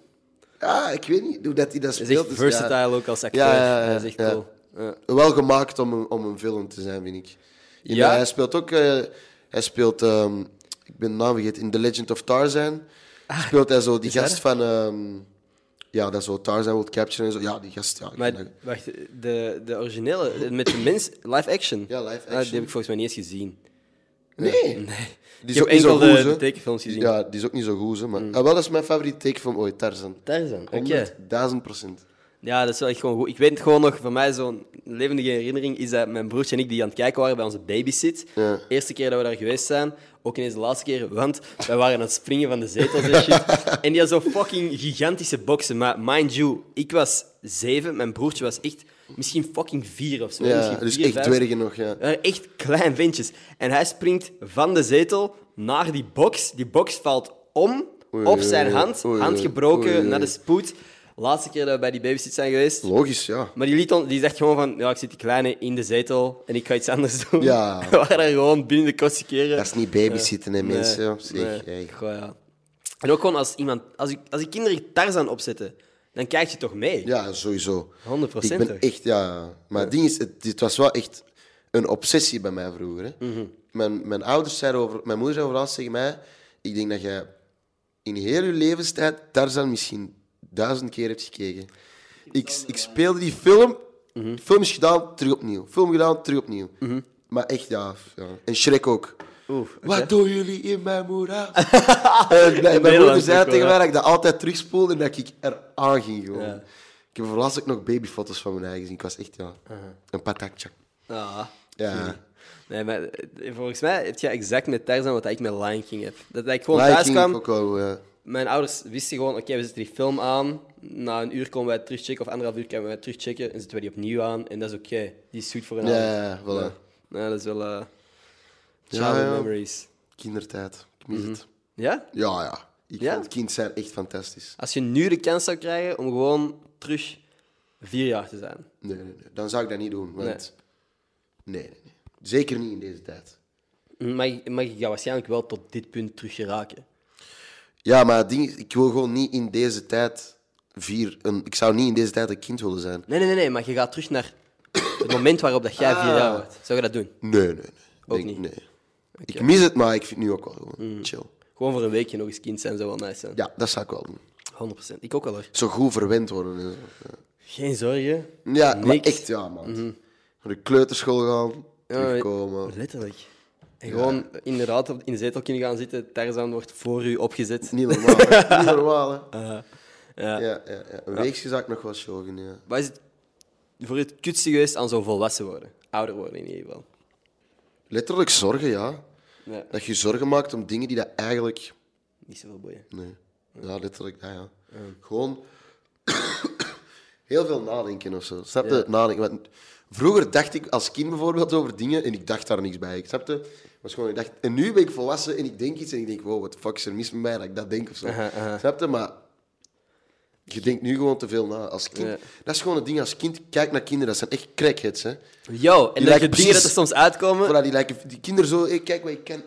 Ja, ik weet niet hoe dat hij dat
Dat
speelt.
is echt
Dus ja.
versatile ook als acteur.
Ja, ja, ja,
dat is echt
ja.
cool. Ja.
Wel gemaakt om een, om een film te zijn, vind ik. In,
Ja?
eh, hij speelt ook... eh, hij speelt... ehm, ik ben de naam vergeten. In The Legend of Tarzan speelt hij zo die
Ah, is hij
gast van... ehm, ja, dat zo Tarzan wil capturen en zo. Ja, die gast... Ja, ik
Maar
vind dat-
wacht, de, de originele, met de mens, live action.
Ja, live
Ah,
action.
die heb ik volgens mij niet eens gezien.
Nee.
Ik
Die
heb
ook niet zo
enkel de-
goed, hè.
de tekenfilms gezien.
Ja, die is ook niet zo goed, hè, maar... Ah, wel, dat is mijn favoriete tekenfilm ooit, Tarzan.
Tarzan, oké.
1000 procent.
Ja, dat is wel echt gewoon goed. Ik weet het gewoon nog, voor mij zo'n levendige herinnering is dat mijn broertje en ik die aan het kijken waren bij onze babysit.
Ja.
Eerste keer dat we daar geweest zijn, ook ineens de laatste keer, want wij waren aan het springen van de zetels en shit. en die had zo'n fucking gigantische boksen. Maar mind you, ik was zeven, mijn broertje was echt misschien fucking vier of zo.
Ja,
misschien
dus
vier,
echt
vijf.
dwergen nog, ja.
We waren Eh, echt klein ventjes. En hij springt van de zetel naar die box. Die box valt om
Oei,
op zijn
oei,
hand.
oei,
hand
oei,
gebroken,
oei.
naar de spoed. Laatste keer dat we bij die babysit zijn geweest.
Logisch, ja.
Maar die, liet ons, die zegt gewoon van, ja, ik zit die kleine in de zetel en ik ga iets anders doen.
Ja.
We waren daar gewoon binnen de kortste keren.
Dat is niet babysitten, hè,
Nee,
mensen. joh. Zeg,
nee.
hey.
Goh, ja. En ook gewoon als iemand... Als ik, als ik kinderen Tarzan opzetten, dan kijk je toch mee?
Ja, sowieso.
100%
Ik ben
toch?
echt, ja. Maar het ding is, het, dit was wel echt een obsessie bij mij vroeger. Hè.
Mhm.
Mijn, mijn ouders zeiden over, mijn moeder zei overal tegen mij, ik denk dat jij in heel je levenstijd Tarzan misschien duizend keer hebt gekeken. Ik, ik speelde die film, film is gedaan, terug opnieuw. Film gedaan, terug opnieuw. Maar echt, ja, ja. En Shrek ook. Wat doen jullie in mijn moeras? en mijn moeder
Nederlands ook
zei
wel,
tegen
ja.
mij dat ik dat altijd terugspoelde en dat ik eraan ging gewoon.
Ja.
Ik heb voorlaatst ook nog babyfoto's van mijn eigen gezien. Ik was echt, ja,
Uh-huh.
een patatje.
Ah.
Ja.
Nee, maar eh, volgens mij heb je exact met Tarzan wat ik met Lion King heb. Dat ik gewoon
Lion
thuis
King
kwam,
ook wel, eh, ja.
mijn ouders wisten gewoon, oké, we zetten die film aan. Na een uur komen wij terugchecken, of anderhalf uur kunnen wij terugchecken. En zetten wij die opnieuw aan, en dat is oké. Die is goed voor een
Ja,
avond.
ja, voilà.
Ja, dat is wel... eh
Ja,
childhood
ja.
memories.
Kindertijd. Ik mis het.
Ja?
Ja, ja. Ik
Mhm. Ja?
vond kind zijn echt fantastisch.
Als je nu de kans zou krijgen om gewoon terug vier jaar te zijn.
Nee, nee, nee. Dan zou ik dat niet doen, want... Nee, nee, nee. Zeker niet in deze tijd.
Maar, ik- maar ik ga waarschijnlijk wel tot dit punt terug geraken.
Ja, maar het ding is, ik wil gewoon niet in deze tijd vier... Een, ik zou niet in deze tijd een kind willen zijn.
Nee, nee, nee, nee, maar je gaat terug naar het moment waarop dat
Ah.
jij vier jaar wordt. Zou je dat doen?
Nee, nee, nee. Denk-
niet? Mm.
Nee. Ik mis het, maar ik vind het nu ook wel gewoon chill.
Gewoon voor een weekje nog eens kind zijn zou wel nice zijn.
Ja, dat zou ik wel doen.
100%. Ik ook wel hoor.
Zo goed verwend worden. en zo.
Geen zorgen.
Ja, maar
Niks. Mhm.
echt, ja, man. Naar de kleuterschool gaan, terugkomen.
Letterlijk. En gewoon inderdaad op- in de zetel kunnen gaan zitten. Tarzan wordt voor u opgezet.
Niet normaal. hè. Niet normaal, hè.
Ja.
Ja, ja, ja. Een weekje zou ik nog wel showen, ja.
Wat is het voor het kutste geweest aan zo volwassen worden? Ouder worden in ieder geval.
Letterlijk zorgen, ja.
Ja,
Dat je je zorgen maakt om dingen die dat eigenlijk...
niet zoveel boeien.
Nee. Ja, letterlijk, dat, ja. Gewoon heel veel nadenken of zo. Snap je? Nadenken. Want vroeger dacht ik als kind bijvoorbeeld over dingen en ik dacht daar niks bij. Ik snapte... Was gewoon, ik dacht, en nu ben ik volwassen en ik denk iets en ik denk, wow, wat fuck is er mis met mij dat ik dat denk of zo. Snapte? Maar je denkt nu gewoon te veel na. Als kind,
Ja.
Dat is gewoon het ding als kind. Kijk naar kinderen, dat zijn echt crackheads. Hè.
Yo,
lijkt
en dat je dingen
precies-
dat er soms uitkomen.
Voilà, die, lijken, die kinderen zo, hey, kijk wat ik ken.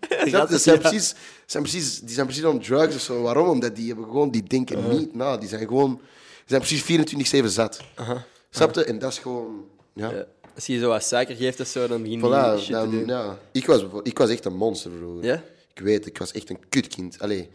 gaat
Dat,
het,
zijn
ja.
precies, zijn precies, die zijn precies on drugs of zo. Waarom? Omdat die hebben gewoon, die denken
Uh-huh.
niet na. Die zijn gewoon, die zijn precies 24-7 zat. Snap je? En dat is gewoon, ja.
Uh-huh. Ja. Eh, Als je zo wat suiker geeft of zo, dan begin je die
Voilà,
shit te
dan,
doen.
ja. Ik was, ik was echt een monster vroeger.
Ja?
Ik weet, ik was echt een kutkind. Allee,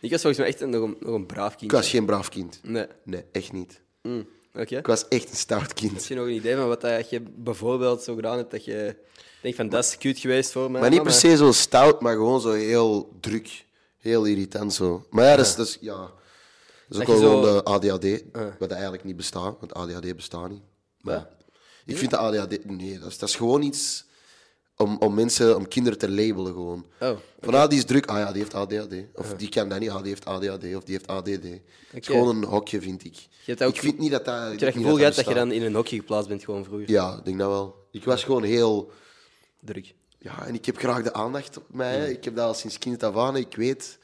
Ik was volgens mij echt een- nog, een, nog een braaf kind.
ik was geen braaf kind.
Nee.
Nee, echt niet.
Mm, Oké.
Ik was echt een stout kind.
Heb je nog een idee van wat dat je bijvoorbeeld zo gedaan hebt dat je denkt van dat is cute geweest voor mij?
Maar niet per se zo stout, maar gewoon zo heel druk. Heel irritant zo. Maar ja, dat is, dat is, ja, dat is ook wel
je
gewoon
zo- Eh.
de ADHD, wat eigenlijk niet bestaat, want ADHD bestaat niet. Maar ja, ik vind de ADHD, nee, dat is, dat is gewoon iets om, om mensen, om kinderen te labelen gewoon.
Oh, oké.
Van ah, die is druk, ah ja, die heeft ADHD. Of die kan dat niet, ah, die heeft ADHD, of die heeft ADD. Het is
Oké.
gewoon een hokje, vind ik.
hebt dat ook
ik vind niet dat dat...
Heb je dat
niet
gevoel gehad dat je
bestaat.
dan in een hokje geplaatst bent gewoon vroeger?
Ja, ik denk dat wel. Ik was gewoon heel...
Druk.
Ja, en ik heb graag de aandacht op mij. hè. Ik heb dat al sinds kind af aan. Ik weet...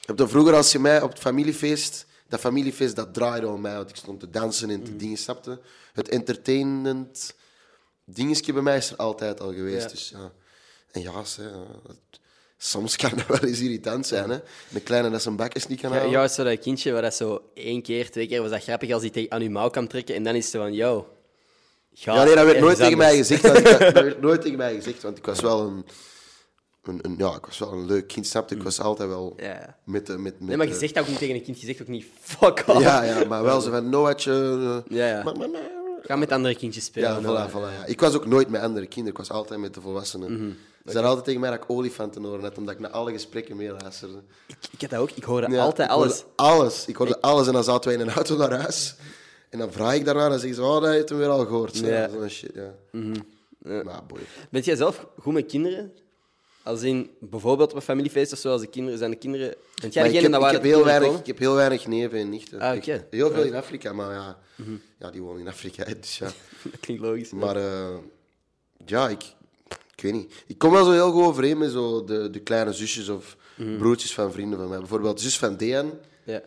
Ik heb dat vroeger als je mij op het familiefeest... Dat familiefeest, dat draaide om mij. Want ik stond te dansen
Mm.
en te dingen, snapte. Het entertainment dingetje bij mij is er altijd al geweest.
Ja.
Dus, ja. En ja, ze, ja, het- soms kan dat wel eens irritant zijn. Hè? De kleine dat zijn bakjes niet kan
Ja,
halen.
jou is zo dat kindje waar dat zo één keer, twee keer was dat grappig als hij tegen aan je mouw kan trekken en dan is ze van, yo, ga
Ja, nee, dat werd
ergens
nooit tegen mij
anders.
gezegd. want ik- Dat, werd nooit tegen mij gezegd, want ik was wel een, een, een- ja, ik was wel een leuk kind, snapte? Ik was altijd wel
Ja.
met de... Met, met
Nee, maar
de-
je zegt dat ook niet tegen een kind, je zegt ook niet, fuck off.
Ja, ja, maar wel zo van, Noatje... eh,
Ja, ja.
maar- maar- maar-
Ga met andere kindjes spelen.
Ja,
hoor.
voilà, voilà, ja. Ik was ook nooit met andere kinderen, ik was altijd met de volwassenen.
Mhm.
Ze zeiden altijd tegen mij dat ik olifantenoren had, omdat ik naar alle gesprekken meeluisterde.
Ik, ik had dat ook, ik hoorde
Ja,
altijd
ik hoorde
alles.
Alles. Ik hoorde alles. En dan zaten wij in een auto naar huis. En dan vraag ik daarna, dan zeggen ze, oh, dat heeft hem weer al gehoord. Zo,
Ja. Mhm.
Zo'n shit, ja. Maar boy.
Bent jij zelf goed met kinderen? Als in bijvoorbeeld op een familiefeest of zo, als de kinderen zijn de kinderen. Bent jij
Maar ik,
degene
heb,
dat
ik,
waar
heb
de
heel
kinderen
weinig, ik
komen?
heb heel weinig neven en nichten.
Ah,
Echt.
oké. Mhm.
Heel veel in Afrika, maar ja, ja die wonen in Afrika. Dus ja.
Dat klinkt logisch.
Maar eh, ja, ik, ik weet niet. Ik kom wel zo heel goed overeen met zo de, de kleine zusjes of
Mhm.
broertjes van vrienden van mij. Bijvoorbeeld de zus van Dean.
Ja.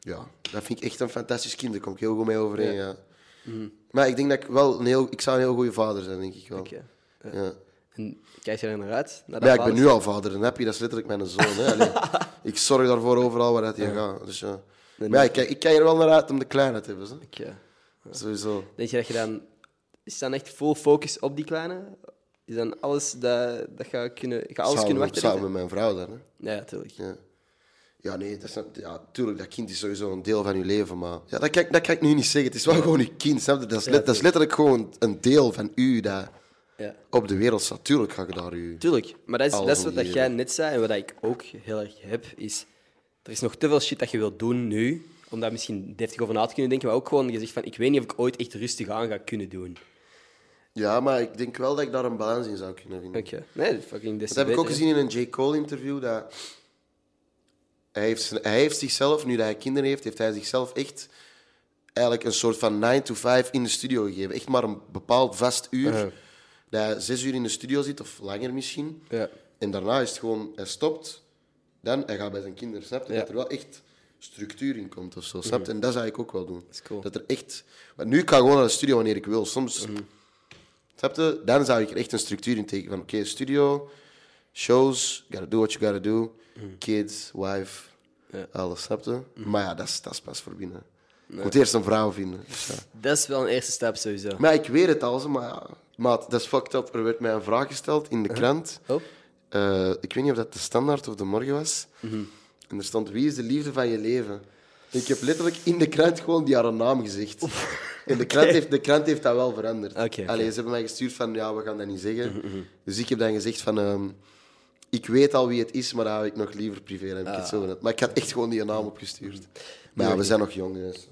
Ja, dat vind ik echt een fantastisch kind. Daar kom ik heel goed mee overeen, ja.
Mhm.
Maar ik denk dat ik wel een heel... Ik zou een heel goede vader zijn, denk ik wel.
Oké.
Ja.
En kijk je er naar uit? Naar
Maar ja,
dat
ik ben
vader-
nu al vader. En heb je, dat is letterlijk mijn zoon. Hè. Allee, ik zorg daarvoor overal waar dat hij gaat. Dus, ja. Maar ja, ik, kijk- ik kijk er wel naar uit om de kleine te hebben. Zo.
Oké.
Sowieso.
Denk je dat je dan... Is dan echt full focus op die kleine? Is dan alles dat, dat je kunnen, je gaat alles
samen,
kunnen wachten?
samen met mijn vrouw dan. Hè.
Ja, natuurlijk.
Ja. ja, nee, dat snap, ja, tuurlijk, dat kind is sowieso een deel van je leven, maar... Ja, dat, kan, ik- dat kan ik nu niet zeggen. Het is wel gewoon je kind, snap je? Dat is, let- dat is letterlijk gewoon een deel van u dat
Ja.
op de wereld staat. Tuurlijk ga je daar je...
Tuurlijk. Maar dat is, dat
Alles
is wat
om
dat
die
jij
reden.
net zei en wat dat ik ook heel erg heb, is... Er is nog te veel shit dat je wilt doen nu, om daar misschien deftig over na te kunnen denken, maar ook gewoon gezegd van, ik weet niet of ik ooit echt rustig aan ga kunnen doen.
Ja, maar ik denk wel dat ik daar een balans in zou kunnen vinden.
Oké. Nee, fucking des
Dat
te
heb ik ook
beter,
gezien in een J. Cole-interview, dat... Hij heeft, zijn- hij heeft zichzelf, nu dat hij kinderen heeft, heeft hij zichzelf echt eigenlijk een soort van 9 to 5 in de studio gegeven. Echt maar een bepaald vast uur.
Ja.
Dat hij zes uur in de studio zit, of langer misschien.
hè. Ja.
En daarna is het gewoon, hij stopt, dan hij gaat bij zijn kinderen, snap je?
Ja. Mhm.
Dat er wel echt structuur in komt of zo, snap je? En dat zou ik ook wel doen. Dat
is cool. Mhm.
er echt... Want nu kan ik gewoon naar de studio wanneer ik wil. Soms, snap je? Dan zou ik er echt een structuur in tekenen. Van oké, studio, shows, gotta do what you gotta do, kids, wife,
Mhm. Ja. Mhm.
alles, snap je? Maar ja, dat is, dat is pas voor binnen. Ik moet eerst een vrouw vinden. dus ja.
Dat is wel een eerste stap sowieso.
Maar ik weet het al, ze, maar ja, maat, dat is fucked up. Er werd mij een vraag gesteld in de krant.
Oh.
Eh, ik weet niet of dat de standaard of de morgen was.
Mhm.
En er stond: Wie is de liefde van je leven? Ik heb letterlijk in de krant gewoon die haar naam gezegd. En de krant, heeft, de krant heeft dat wel veranderd.
Oké, oké. Mhm,
Allee, ze hebben mij gestuurd van, ja, we gaan dat niet zeggen. Dus ik heb dan gezegd van, ehm, ik weet al wie het is, maar dat hou ik nog liever privé. Dan heb
Ah.
ik het zo gedaan. Maar ik had echt gewoon die naam
Mhm.
opgestuurd. Maar ja, we zijn nog jong, dus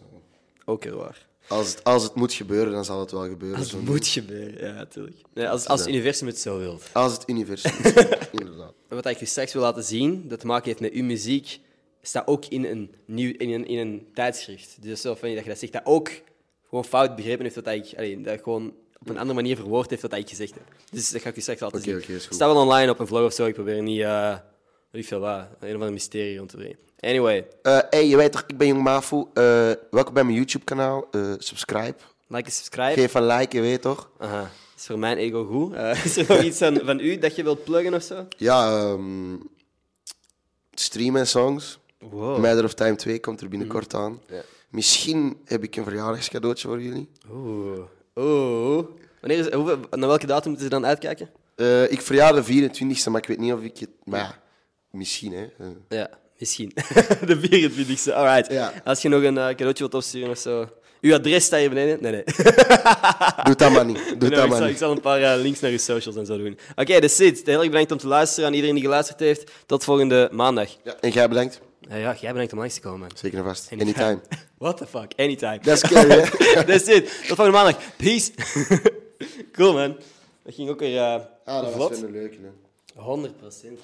Ook heel waar.
als het, als het moet gebeuren, dan zal het wel gebeuren.
Als
Zo-
het moet gebeuren, ja, natuurlijk. Nee, als, als het universum het zo wil.
als het universum is, inderdaad.
En Wat ik u straks wil laten zien, dat te maken heeft met uw muziek, staat ook in een, nieuw, in een, in een tijdschrift. Dus zo van je dat je dat zegt, dat ook gewoon fout begrepen heeft wat ik... Allee, dat gewoon op een andere manier verwoord heeft wat ik gezegd heb. Dus dat ga ik u straks laten
Oké,
zien.
oké, is goed.
staat wel online op een vlog of zo, ik probeer niet... eh weet ik veel wat, een of ander mysterie rond te brengen. Anyway,
Eh hey, je weet toch, ik ben Jong Mafu. Eh, welkom bij mijn YouTube-kanaal. Eh, subscribe.
like en subscribe.
Geef een like, je weet toch?
Aha, is voor mijn ego goed. Eh, is er nog iets van, van u dat je wilt pluggen of zo?
Ja, ehm, streamen songs.
Wow. Mm.
Matter of Time 2 komt er binnenkort aan. Misschien heb ik een verjaardagscadeautje voor jullie.
Oeh. Oeh. Wanneer is, hoeveel, naar welke datum moeten ze dan uitkijken?
Eh, ik verjaar de 24e, maar ik weet niet of ik het... Maar ja, misschien, hè. Eh,
Ja, misschien. de 24e, alright.
Ja.
Als je nog een eh, cadeautje wilt opsturen of zo. Uw adres staat hier beneden. Nee, nee.
doe dat maar niet. Doe dat
Nee, ik, zal,
maar
ik
niet.
zal een paar eh, links naar uw socials en zo doen. Oké, dat is het. Heel erg bedankt om te luisteren aan iedereen die geluisterd heeft. Tot volgende maandag.
Ja, En jij bedankt.
Eh, ja, jij bedankt om langs te komen, man.
Zeker en vast.
Anytime.
Anytime.
What the fuck? Anytime.
Dat is scary, hè.
Dat is het. Tot volgende maandag. Peace. cool, man. Dat ging ook weer eh
Ah, dat was
vlot.
wel een leuke, hè.
100%.